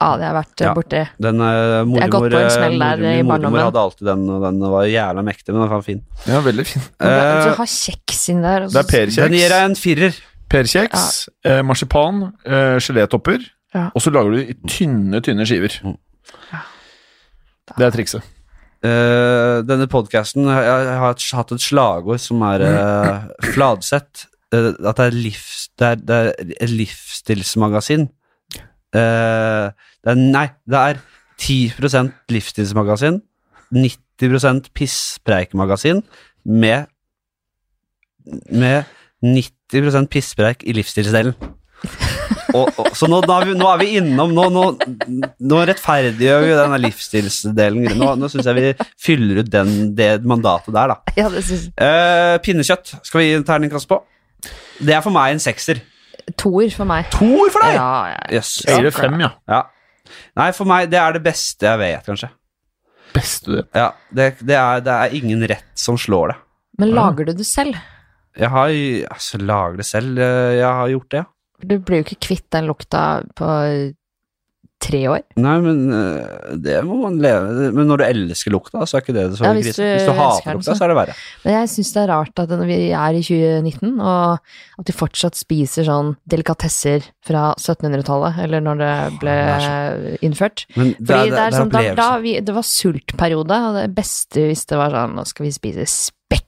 Ah, det har jeg vært Ja. ja. borti. den eh, Jeg har gått mormor, på en smell der mormor, i min mormor barndommen. hadde alltid den, og den var jævla mektig, men den var fin. Ja, veldig fin. Men det er- sånn Eh, Du har kjeks inni der. og Det så- er perkjeks, Den gir deg en firer. perkjeks eh, marsipan, eh, gelétopper, Ja. og så lager du i tynne, tynne skiver. Det er trikset. Eh, denne podkasten jeg, jeg har et- hatt et slagord som er eh, Fladseth. Eh, at det er, livs, det er, det er et livsstilsmagasin. Eh, det er, nei, det er 10 livsstilsmagasin, 90 pisspreikmagasin, med, med 90 pisspreik i livsstilsdelen. Og, og, så nå, nå, er vi, nå er vi innom Nå, nå, nå rettferdiggjør vi denne livsstilsdelen. Nå, nå syns jeg vi fyller ut den, det mandatet der, da. <laughs> Ja, det synes Eh, pinnekjøtt skal vi gi en terningkast på. Det er for meg en sekser. Toer for meg. Toer for deg! Ja, ja, ja. Yes. Jeg gir det fem, ja. Ja. Nei, for meg det er det beste jeg vet, kanskje. Beste du vet. Ja, det, det, er, det er ingen rett som slår det. Men lager du det selv? Jeg har altså, lager det selv. eh, Jeg har gjort det, ja. Du blir jo ikke kvitt den lukta på tre år. Nei, men eh, det må man leve Men når du elsker lukta, så er ikke det så Ja, krise. hvis Hvis, du du elsker hater den, lukta, så- så er det verre. Men jeg syns det er rart at når vi er i 2019, og at de fortsatt spiser sånn delikatesser fra 1700-tallet, eller når det ble innført. Men det, Fordi er- det, det er sånn, da, opplevelsen. da vi, det var sultperiode, og det beste hvis det var sånn, nå skal vi spise spekket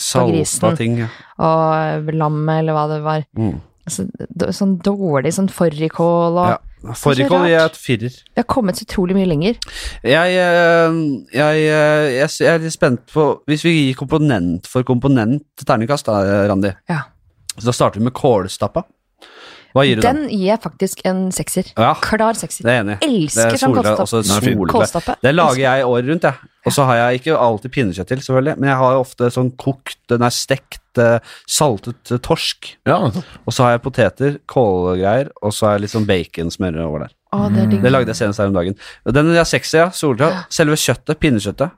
på Salta grisen, ting, ja. og lammet, eller hva det var. Mm. Altså, d- sånn dårlig sånn fårikål, og ja. Fårikål rart. gir jeg et firer. vi har kommet så utrolig mye lenger. Jeg, eh, jeg, eh, jeg, s- jeg er litt spent på Hvis vi gir komponent for komponent terningkast, da, Randi, Ja. så da starter vi med kålstappa. Hva gir du den? Den gir jeg faktisk en sekser. Ja. Klar sekser. Det er jeg enig. i. Det Elsker er sånn solbær, også kålstappe. fint. solbær. Kålstappe. Det lager jeg året rundt, jeg. Og så har jeg ikke alltid pinnekjøtt til, selvfølgelig, men jeg har ofte sånn kokt, den er stekt, eh, saltet eh, torsk. Ja, nettopp. Og så har jeg poteter, kålgreier, og så har jeg litt sånn baconsmør over der. Å, det er digg. Mm. Det lagde jeg senest her om dagen. Den er sexy, ja. Solbær. Selve kjøttet, pinnekjøttet.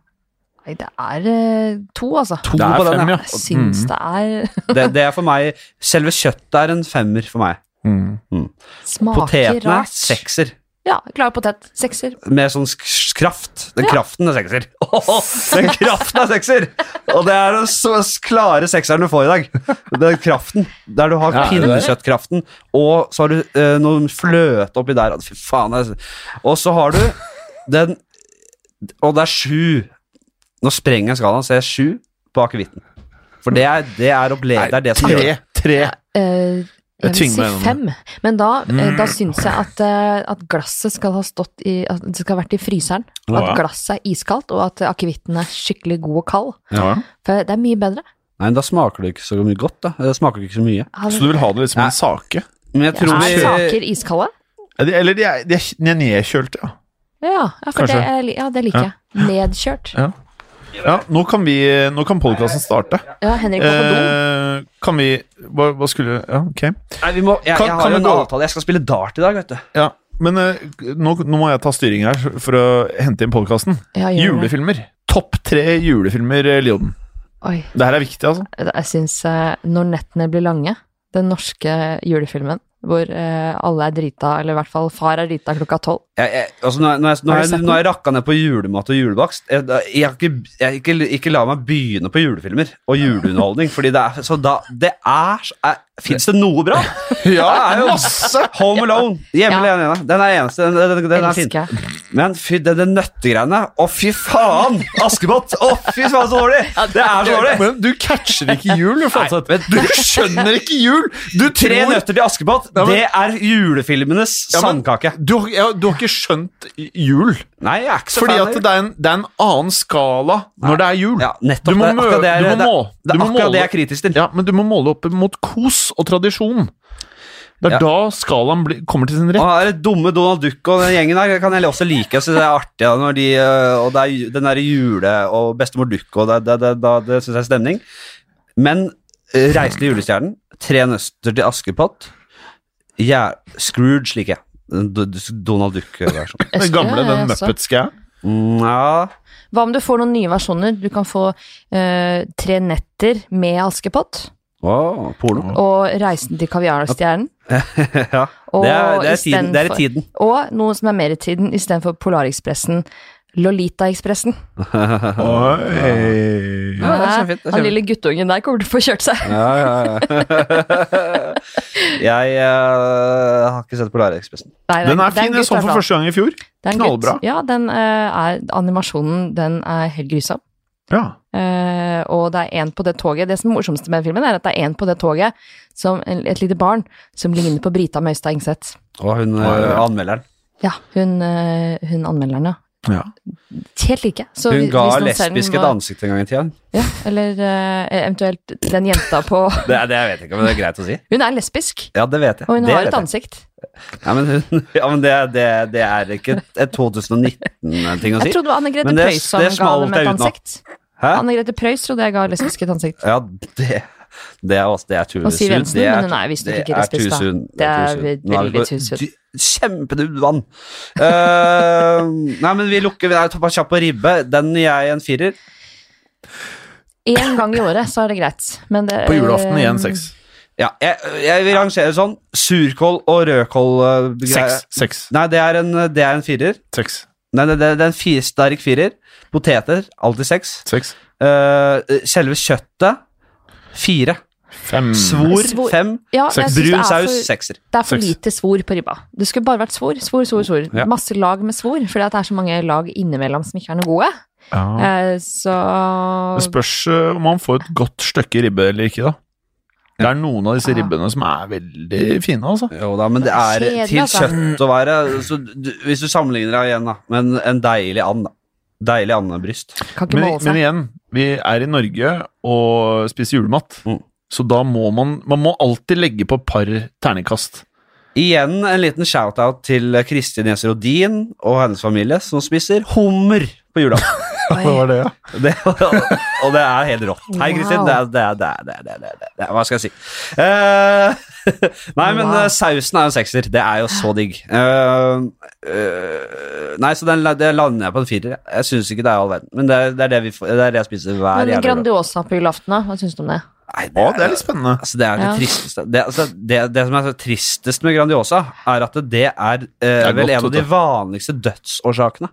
Nei, det er eh, to, altså. To Det er på fem, Mm. den, ja. Jeg syns det er <laughs> Det, det er for meg Selve kjøttet er en femmer for meg. Mm. Smaker Potetene er rart. sekser. Ja, klar potet. Sekser. med sånn sk- sk- kraft. Den kraften er sekser. <laughs> Åh, den kraften er sekser! Og det er den så s- klare sekseren du får i dag. Den kraften. Der du har Ja, er det det? pinnekjøttkraften, og så har du eh, noen fløte oppi der. Fy faen. det er- Og så har du den Og det er sju. Nå sprenger jeg skalaen, så jeg er sju på akevitten. For det er det, er opple- det, er det som gjør Tre. det. Tre. Eh, jeg Jeg vil tvinger si meg gjennom fem, men da, Mm. eh, da syns jeg at, eh, at glasset skal ha stått i At det skal ha vært i fryseren. Og Ja. at glasset er iskaldt, og at akevitten er skikkelig god og kald. Ja. For det er mye bedre. Nei, men da smaker det ikke så mye godt, da. Det smaker ikke så mye. Han- Så du vil ha det liksom Nei. en sake? Men jeg tror Er vi saker iskalde? Ja, de- Eller de er, de er de er nedkjølte, ja. Ja, ja, for det, Kanskje. er, li- ja, det liker jeg. Nedkjørt. ja. Nå kan, vi, nå kan podkasten starte. Ja, Henrik var på do. Eh, kan vi hva, hva skulle Ja, ok. Nei, vi må, jeg, Kan- jeg kan har jo vi en gå- avtale. Jeg skal spille dart i dag, vet du. Ja, men eh, nå, nå må jeg ta styring her for å hente inn podkasten. Ja, gjør det. Julefilmer. Topp tre julefilmer, eh, Lioden. Oi. Det her er viktig, altså. Jeg syns eh, Når nettene blir lange, den norske julefilmen hvor eh, alle er drita, eller i hvert fall far er drita klokka tolv. jeg, jeg, altså når, jeg- når, jeg, når, Har du jeg, sett den? når jeg rakka ned på julemat og julebakst jeg, jeg, har ikke, jeg, ikke, ikke la meg begynne på julefilmer og juleunderholdning. Fordi det er så da, det er, så- er Fins det noe <laughs> bra? Ja, det er jo masse! Home Alone. Hjemme Ja. alene. Den er eneste. Den, den, den, den er fin. Elsker. Men fy, det, det nøttegreiene Å, fy faen! Askepott! Å, fy faen, så dårlig! Det er så dårlig! Men du catcher ikke jul, du, faen. Nei, men Du skjønner ikke jul! Du Tre tror- nøtter til Askepott, Ja, men- det er julefilmenes Ja, men- sandkake. Du, har- ja, du har ikke skjønt jul. Nei, jeg er ikke så Fordi fan at av det er en, det er en annen skala når det er jul. Ja, nettopp. Du må, Det er akkurat mø- det jeg- du må det er- må- det er akkurat du må det måle- jeg er kritisk til. Ja, men du må måle opp mot kos og tradisjon. Det er Ja. da skalaen blir- kommer til sin rett. Og her er dumme Donald Duck og den gjengen der kan jeg også like. Så det er artig da, når de øh, Og det er ju- den derre jule og bestemor Duck og det, det, det, det, det syns jeg er stemning. Men øh, Reise til julestjernen, Tre nøster til Askepott, ja, Scrooge liker jeg. D- d- Donald Duck øh, er sånn. Den gamle, Elsker, den jeg også. Muppets-greia. Mm, Ja. Hva om du får noen nye versjoner? Du kan få eh, Tre netter med Askepott Åh, <laughs> porno. og Reisen til kaviarstjernen. ja. Og Det er, det, er tiden, det er i istedenfor- tiden. <laughs> Og noe som er mer i tiden, istedenfor Polarekspressen. Lolitaekspressen. Oi. Ja, det er kjempefint, det er Han lille guttungen der kommer til å få kjørt seg. Ja, ja, <laughs> ja. jeg øh, har ikke sett Polarekspressen. Nei, det Den det er en fin. Jeg gutt, sånn så i hvert den for fall. første gang i fjor. Det er en gutt. knallbra. Ja, den eh, er Animasjonen, den er helt grusom. Ja. Eh, og det er en på det toget Det som er morsomste med den filmen, er at det er en på det toget, som en, et lite barn, som ligner på Brita Møystad Engseth. Og hun Ja, ja, øh, ja. anmelderen. Ja, hun, eh, hun anmelderen, ja. Ja. Helt like. Så Hun hvis- ga hvis noen ser den, lesbisk et må- ansikt en gang i tida. Ja, eller eh, eventuelt den jenta på <laughs> Det, det jeg vet jeg ikke, men det er greit å si. Hun er lesbisk, Ja, det vet jeg. og hun det har vet et jeg. ansikt. Ja, men, hun- <laughs> ja, men det, det, det er ikke et 2019-ting å si. Jeg trodde det var Anne Grete Men det- Preus som det ga smalt dem jeg ut et nå. ansikt. Hæ? Anne Grete Preus trodde jeg ga lesbisk et ansikt. Ja, det, det er også det er tullesud. Og Siv Jensen, det er- men hun er visstnok det er ikke lesbisk, da. tusen, Det er tusen. veldig Nå vi på tusen. dy- Kjempedypt vann. Eh, nei, men vi lukker vi er på kjapp på ribbe. Den gir jeg en firer. Én gang i året, så er det greit. Men det, På julaften igjen eh, seks. Ja, jeg, jeg vil rangere sånn surkål og rødkål. eh, greie. Seks. Seks. Nei, det er en, det er en firer. Seks. Nei, det, det, det er en fire, sterk firer. Poteter, alltid seks. Seks. Eh, selve kjøttet fire. Fem. Svor, Svor. fem. Ja, jeg Seks. synes det Brun er saus for- sekser. Det er for Seks. lite svor på ribba. Det skulle bare vært svor, svor, svor, svor. Ja. Masse lag med svor, fordi at det er så mange lag innimellom som ikke er noe gode. Ja. Eh, Så Det spørs eh, om man får et godt stykke ribbe eller ikke, da. Det er noen av disse Ja. ribbene som er veldig fine, altså. Jo da, men det er Kjedelig, til altså. kjøtt å være. Så du, hvis du sammenligner deg igjen, da, men en deilig and, da. Deilig andebryst. kan ikke Men, måle men seg. igjen, vi er i Norge og spiser julemat. Mm. Så da må man Man må alltid legge på et par terningkast. Igjen en liten shout-out til Kristin Jens Rodin og hennes familie, som spiser hummer på julaften. Hva var det, ja? Det, og, og det er helt rått. Hei, Kristin. Wow. Det er det, er- det, er- det, er- det, er- det, er- det. er- Hva skal jeg si? Eh, <laughs> nei, men Wow. eh, sausen er jo en sekser. Det er jo så digg. Eh, eh, nei, så den, la- det lander jeg på en firer. Jeg syns ikke det er all verden, men det, er- det er det, vi, får- det er det jeg spiser hver Men jævla jul. Grandiosa på julaften, da? Hva syns du om det? Nei, Å, det er litt spennende. Altså, det er det Ja. tristeste. Det, altså, det, det som er så tristest med Grandiosa, er at det er, eh, er vel godt, en av de vet vanligste dødsårsakene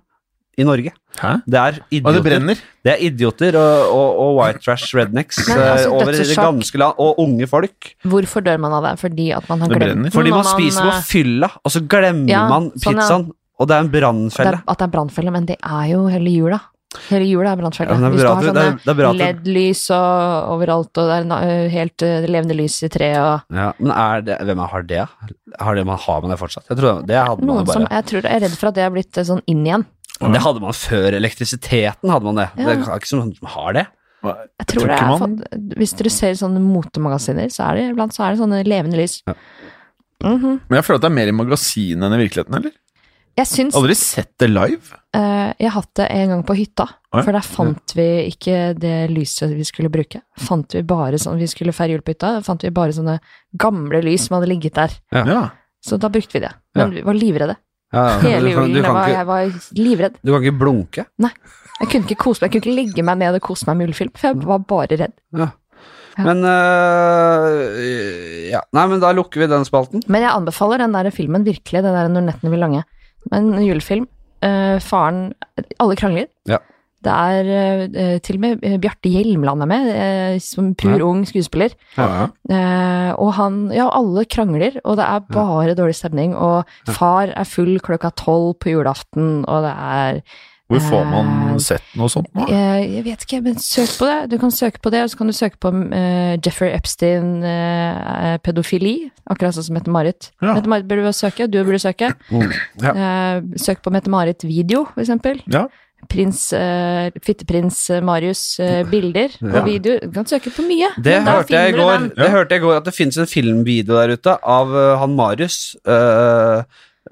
i Norge. Hæ? Det er Og det idioter, det brenner. er idioter og, og, og white trash rednecks Men, eh, altså, over det dødsårsak- ganske land, og unge folk. Hvorfor dør man av det? Fordi at man har Det glemt brenner. den, Fordi og man spiser eh, på fylla, og så glemmer Ja, man sånn, ja. pizzaen, og det er en det er, brannfelle. At det er brannfelle, men det er jo hele jula. Hele jula er brannfelle. Ja, men det er Hvis du bra at har du- sånne det er- det er bra at du- LED-lys og overalt, og det er na- øh, helt øh, levende lys i treet og Ja, men er det, hvem er, har det? Har det man, har man det fortsatt? Jeg tror det hadde man Noen jo bare. som Jeg tror jeg er redd for at det er blitt øh, sånn inn igjen. Men Det hadde man før elektrisiteten, hadde man det. Ja. Det er ikke som man har det. Hva- Jeg tror, tror det ikke er man- fått- Hvis dere ser sånne motemagasiner, så er det iblant så er det sånne levende lys. Ja. Mhm. Men jeg føler at det er mer i magasinet enn i virkeligheten, eller? Jeg syns Aldri sett det live. Eh, jeg har hatt det en gang på hytta, Å ja. for der fant vi ikke det lyset vi skulle bruke. Fant vi bare sånn, Vi skulle feire jul på hytta, da fant vi bare sånne gamle lys som hadde ligget der. Ja. Ja. Så da brukte vi det. Men vi var livredde. Ja, ja. Du Hele kan- julen du kan jeg var, ikke- jeg var livredd. Du kan ikke blunke. Jeg kunne ikke kose meg, jeg kunne ikke legge meg ned og kose meg med julefilm, for jeg var bare redd. Ja. Men øh, ja. Nei, men da lukker vi den spalten. Men jeg anbefaler den der filmen virkelig, den der Når nettene blir lange. Men julefilm, eh, faren Alle krangler. Ja. Det er eh, til og med eh, Bjarte Hjelmland er med, eh, som pur Ja. ung skuespiller. Ja, ja. Eh, og han Ja, alle krangler, og det er bare dårlig stemning. Og far er full klokka tolv på julaften, og det er Hvor får Eh, man sett noe sånt nå? eh, Jeg vet ikke, men søk på det. Du kan søke på det, og så kan du søke på eh, Jeffrey Epstein eh, pedofili. Akkurat sånn som Mette-Marit. Ja. Mette-Marit burde du søke, du burde søke. Mm. Ja. Eh, søk på Mette-Marit video, for eksempel. Ja. Prins, eh, Fitteprins eh, Marius eh, bilder Ja. og videoer. Du kan søke på mye. Det men da hørte jeg i finner du går. den. Det hørte jeg i går at det finnes en filmvideo der ute av øh, han Marius øh,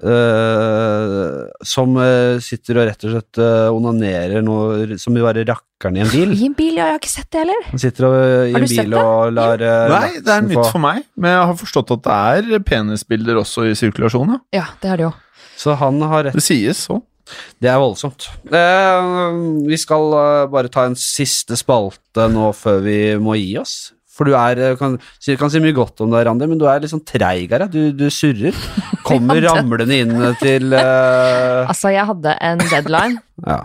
øh, som øh, sitter og rett og slett øh, onanerer noe som jo bare rakkeren i en bil. I en bil, ja. Jeg har ikke sett det heller. Han sitter og, øh, i Har du en sett bil og lar øh, Nei, det er laksen nytt få- for meg, men jeg har forstått at det er penisbilder også i sirkulasjon. Ja. Ja, det har det jo. Så han har rett Det sies sånn. så. Det er voldsomt. Eh, vi skal eh, bare ta en siste spalte nå før vi må gi oss. For du er eh, kan, si- kan si mye godt om deg, Randi, men du er litt sånn treigere. Du, du <laughs> surrer. Kommer ramlende inn til eh, Altså, jeg hadde en deadline, Ja.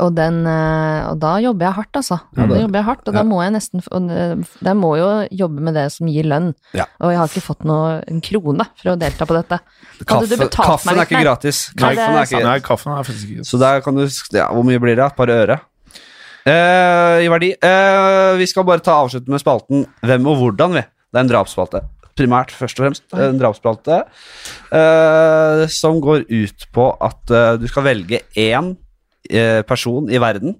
og, den, eh, og da jobber jeg hardt, altså. Ja, det- da jobber jeg hardt, og da må jeg nesten f- og, eh, Jeg må jo jobbe med det som gir lønn. Ja. Og jeg har ikke fått noe, en krone for å delta på dette. Hadde Kaffe, du betalt meg kaffen er litt ikke mer? gratis. Nei, det Kaffen er er ikke Nei, gratis. kaffen er faktisk ikke Så der kan du ja, Hvor mye blir det? Et par øre? Eh, I verdi. Eh, vi skal bare ta avslutte med spalten Hvem og hvordan, vi. Det er en drapsspalte. Primært, først og fremst. En drapsspalte eh, som går ut på at eh, du skal velge én eh, person i verden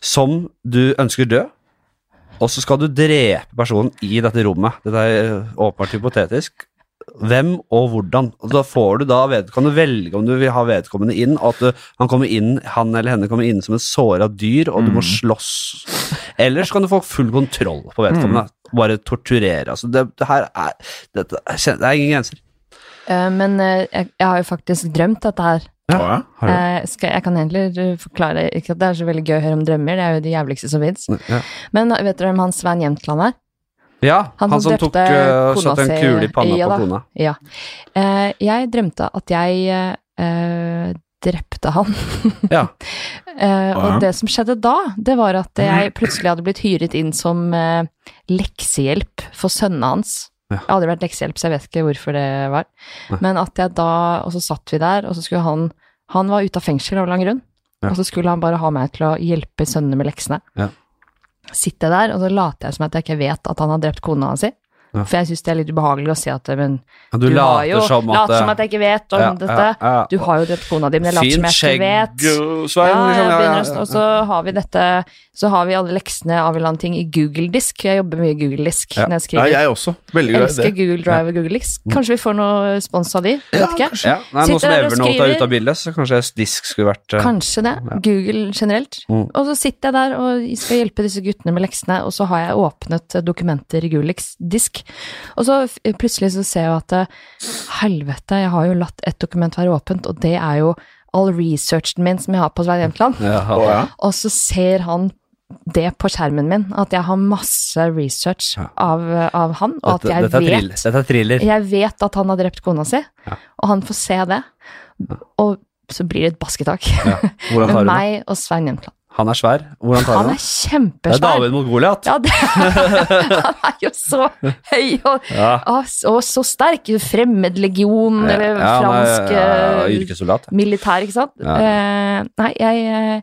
som du ønsker død. Og så skal du drepe personen i dette rommet. Dette er eh, åpenbart hypotetisk. Hvem og hvordan. Og da får du da ved, kan du velge om du vil ha vedkommende inn, og at du, han, kommer inn, han eller henne kommer inn som et såra dyr, og du Mm. må slåss. Eller så kan du få full kontroll på vedkommende. Mm. Bare torturere. Altså, det, det her er dette, Det er ingen grenser. Eh, Men eh, jeg, jeg har jo faktisk drømt dette her. Ja, ja. Har du- Eh, skal, jeg kan egentlig eh, forklare Ikke at det er så veldig gøy å høre om drømmer, det er jo det jævligste som fins. Eh, Ja. Men eh, vet dere hvem han Svein Jämtland er? ja, Han han, som som tok drepte uh, kona satte en si- kule i panna ja da. på kona. Ja. Eh, jeg drømte at jeg eh, eh, drepte han. Ja. Eh, Ja. og det som skjedde da, det var at Mhm. jeg plutselig hadde blitt hyret inn som eh, leksehjelp for sønnene hans. Ja. Jeg har aldri vært leksehjelp, så jeg vet ikke hvorfor det var. Nei. Men at jeg da, og så satt vi der, og så skulle han Han var ute av fengsel av lang grunn, Ja. og så skulle han bare ha meg til å hjelpe sønnene med leksene. Ja. Sitter jeg der, og så later jeg som at jeg ikke vet at han har drept kona si. Ja. For jeg syns det er litt ubehagelig å se at eh, men, Du, har later jo som at eh, later som at jeg ikke vet om Ja, dette. ja, ja. Du har jo drept kona di, men jeg later som Fint jeg ikke skjegg, vet. Ja, Svein. jeg liksom, ja, ja, begynner å ja. stå- Og så har vi dette Så har vi alle leksene av en eller annen ting i Google-disk. Jeg jobber mye i Google-disk Ja. Mm. når jeg Ja, skriver. jeg også. Veldig jeg glad i elsker det. Google Drive og Google Disk. Kanskje vi får noe spons av de? Vet ikke. Ja, nei, Sitter nå som der og Evernote er skriver. ute av bildet, så kanskje disk skulle vært eh, Kanskje det. Google generelt. Mm. Og så sitter jeg der og skal hjelpe disse guttene med leksene, og så har jeg åpnet eh, dokumenter i Google Disk- disk. Og så f- plutselig så ser jeg at eh, helvete, jeg har jo latt et dokument være åpent, og det er jo all researchen min som jeg har på Svein Jämtland. ja. Å, ja. Og så ser han det på skjermen min, at jeg har masse research Ja. av, av han, og at Dette, jeg dette, er vet thriller. dette er thriller. jeg vet at han har drept kona si, Ja. og han får se det. Og så blir det et basketak. Hvordan Med tar du det? meg og Svein Jämtland. Han er svær. Hvordan tar Han du det? Det er er kjempesvær. David mot Goliat. Ja, det, <laughs> han er jo så høy og, Ja. og, så- og så sterk. Fremmedlegion Ja, eller han er, eh, eh, fransk ja, eh, yrkessoldat. militær, ikke sant? Ja. Eh, nei, jeg, eh,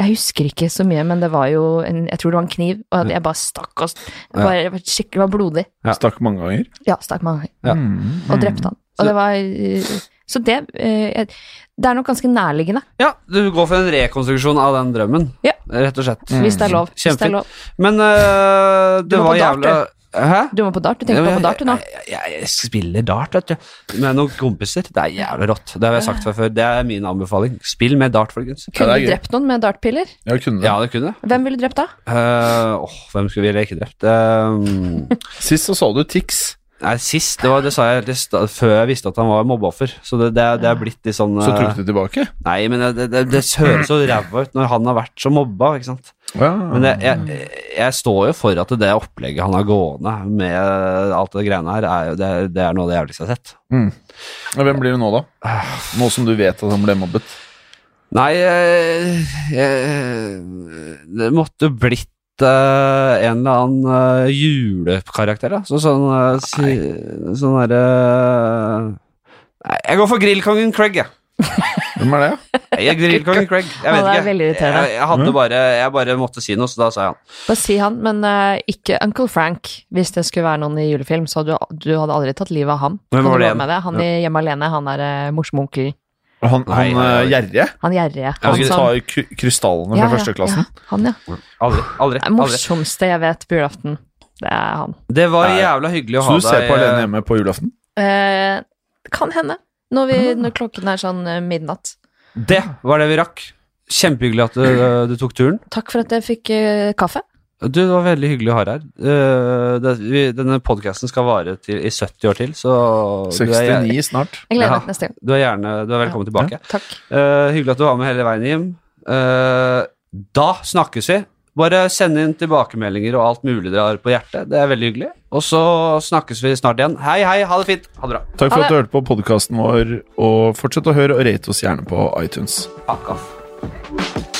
jeg husker ikke så mye, men det var jo en, Jeg tror det var en kniv, og jeg bare stakk og Ja. bare, Skikkelig var blodig. Ja. Stakk mange ganger. Ja, stakk mange ganger. Ja. Mm. og drepte han. Så- Og det var eh, Så det eh, jeg- Det er nok ganske nærliggende, Ja, du går for en rekonstruksjon av den drømmen, Ja. rett og Mm. slett. hvis det er lov. Hvis det er Kjempefint. lov. Men øh, det Du må var på dart, jævla Hæ? Du må på dart. Du tenker Ja, bare men på dart, du nå. Jeg, jeg, jeg spiller dart, vet du. Med noen kompiser. Det er jævlig rått. Det har jeg sagt fra før. Det er min anbefaling. Spill med dart, folkens. Kunne det er du gøy. drept noen med dartpiller? Ja, kunne det. Ja, det kunne jeg. Hvem ville du drept da? Eh, åh, hvem skulle vi leke drept? Ehm, Sist så så du Tix. nei, sist, det, var, det sa jeg helt i stad, før jeg visste at han var mobbeoffer. Så det, det, det er blitt litt sånn Så eh, trukket du tilbake. Nei, men det, det, det høres så ræva ut når han har vært så mobba, ikke sant. Men jeg, jeg, Mm. jeg står jo for at det opplegget han har gående med alt det greiene her, er, jo- det, er- det er noe av det jævligste jeg har sett. Men Hvem blir det nå, da? Nå som du vet at han ble mobbet. Nei, jeg, jeg, det måtte blitt eh, en eller annen eh, julekarakter, da. Så, sånn eh, si, sånn derre Nei, jeg går for grillkongen Craig, jeg. Hvem er det? jeg grillkongen Craig. Jeg Han vet er ikke. veldig irriterende. Jeg, jeg, Mm. hadde bare, jeg bare måtte si noe, så da sa jeg han. Bare si han, men eh, ikke Uncle Frank. Hvis det skulle være noen i julefilm, så hadde du, du hadde aldri tatt livet av ham. Hvem Kan du var det love igjen? meg det? Han i Hjemme alene, han er uh, morsomme onkel. Han, Nei, nei, han eh, nei. gjerrige? Han gjerrige. Ja, Han Han skulle- tar k krystallene Ja, fra ja, første klassen. Ja, han, ja. Aldri. aldri, Det er aldri. morsomste jeg vet på julaften. Det er han. Det var Nei. jævla hyggelig å Så ha du ser deg på Alene hjemme på julaften? Eh, kan hende. Når, vi, når klokken er sånn eh, midnatt. Det var det vi rakk. Kjempehyggelig at du, du tok turen. Takk for at jeg fikk eh, kaffe. Du, det var veldig hyggelig å ha deg her. Eh, det, vi, denne podkasten skal vare til, i 70 år til, så du er, 69 snart. Jeg Ja. gleder meg til neste gang. du er gjerne Du er velkommen tilbake. Takk. Eh, hyggelig at du var med hele veien, Jim. Eh, da snakkes vi. Bare send inn tilbakemeldinger og alt mulig dere har på hjertet. Det er veldig hyggelig. Og så snakkes vi snart igjen. Hei, hei, ha det fint. Ha det bra. Takk Ha for det. at du hørte på podkasten vår, og fortsett å høre og rate oss gjerne på iTunes. Fuck off.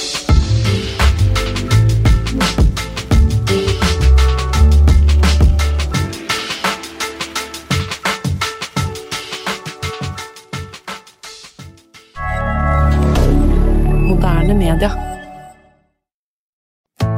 Moderne media.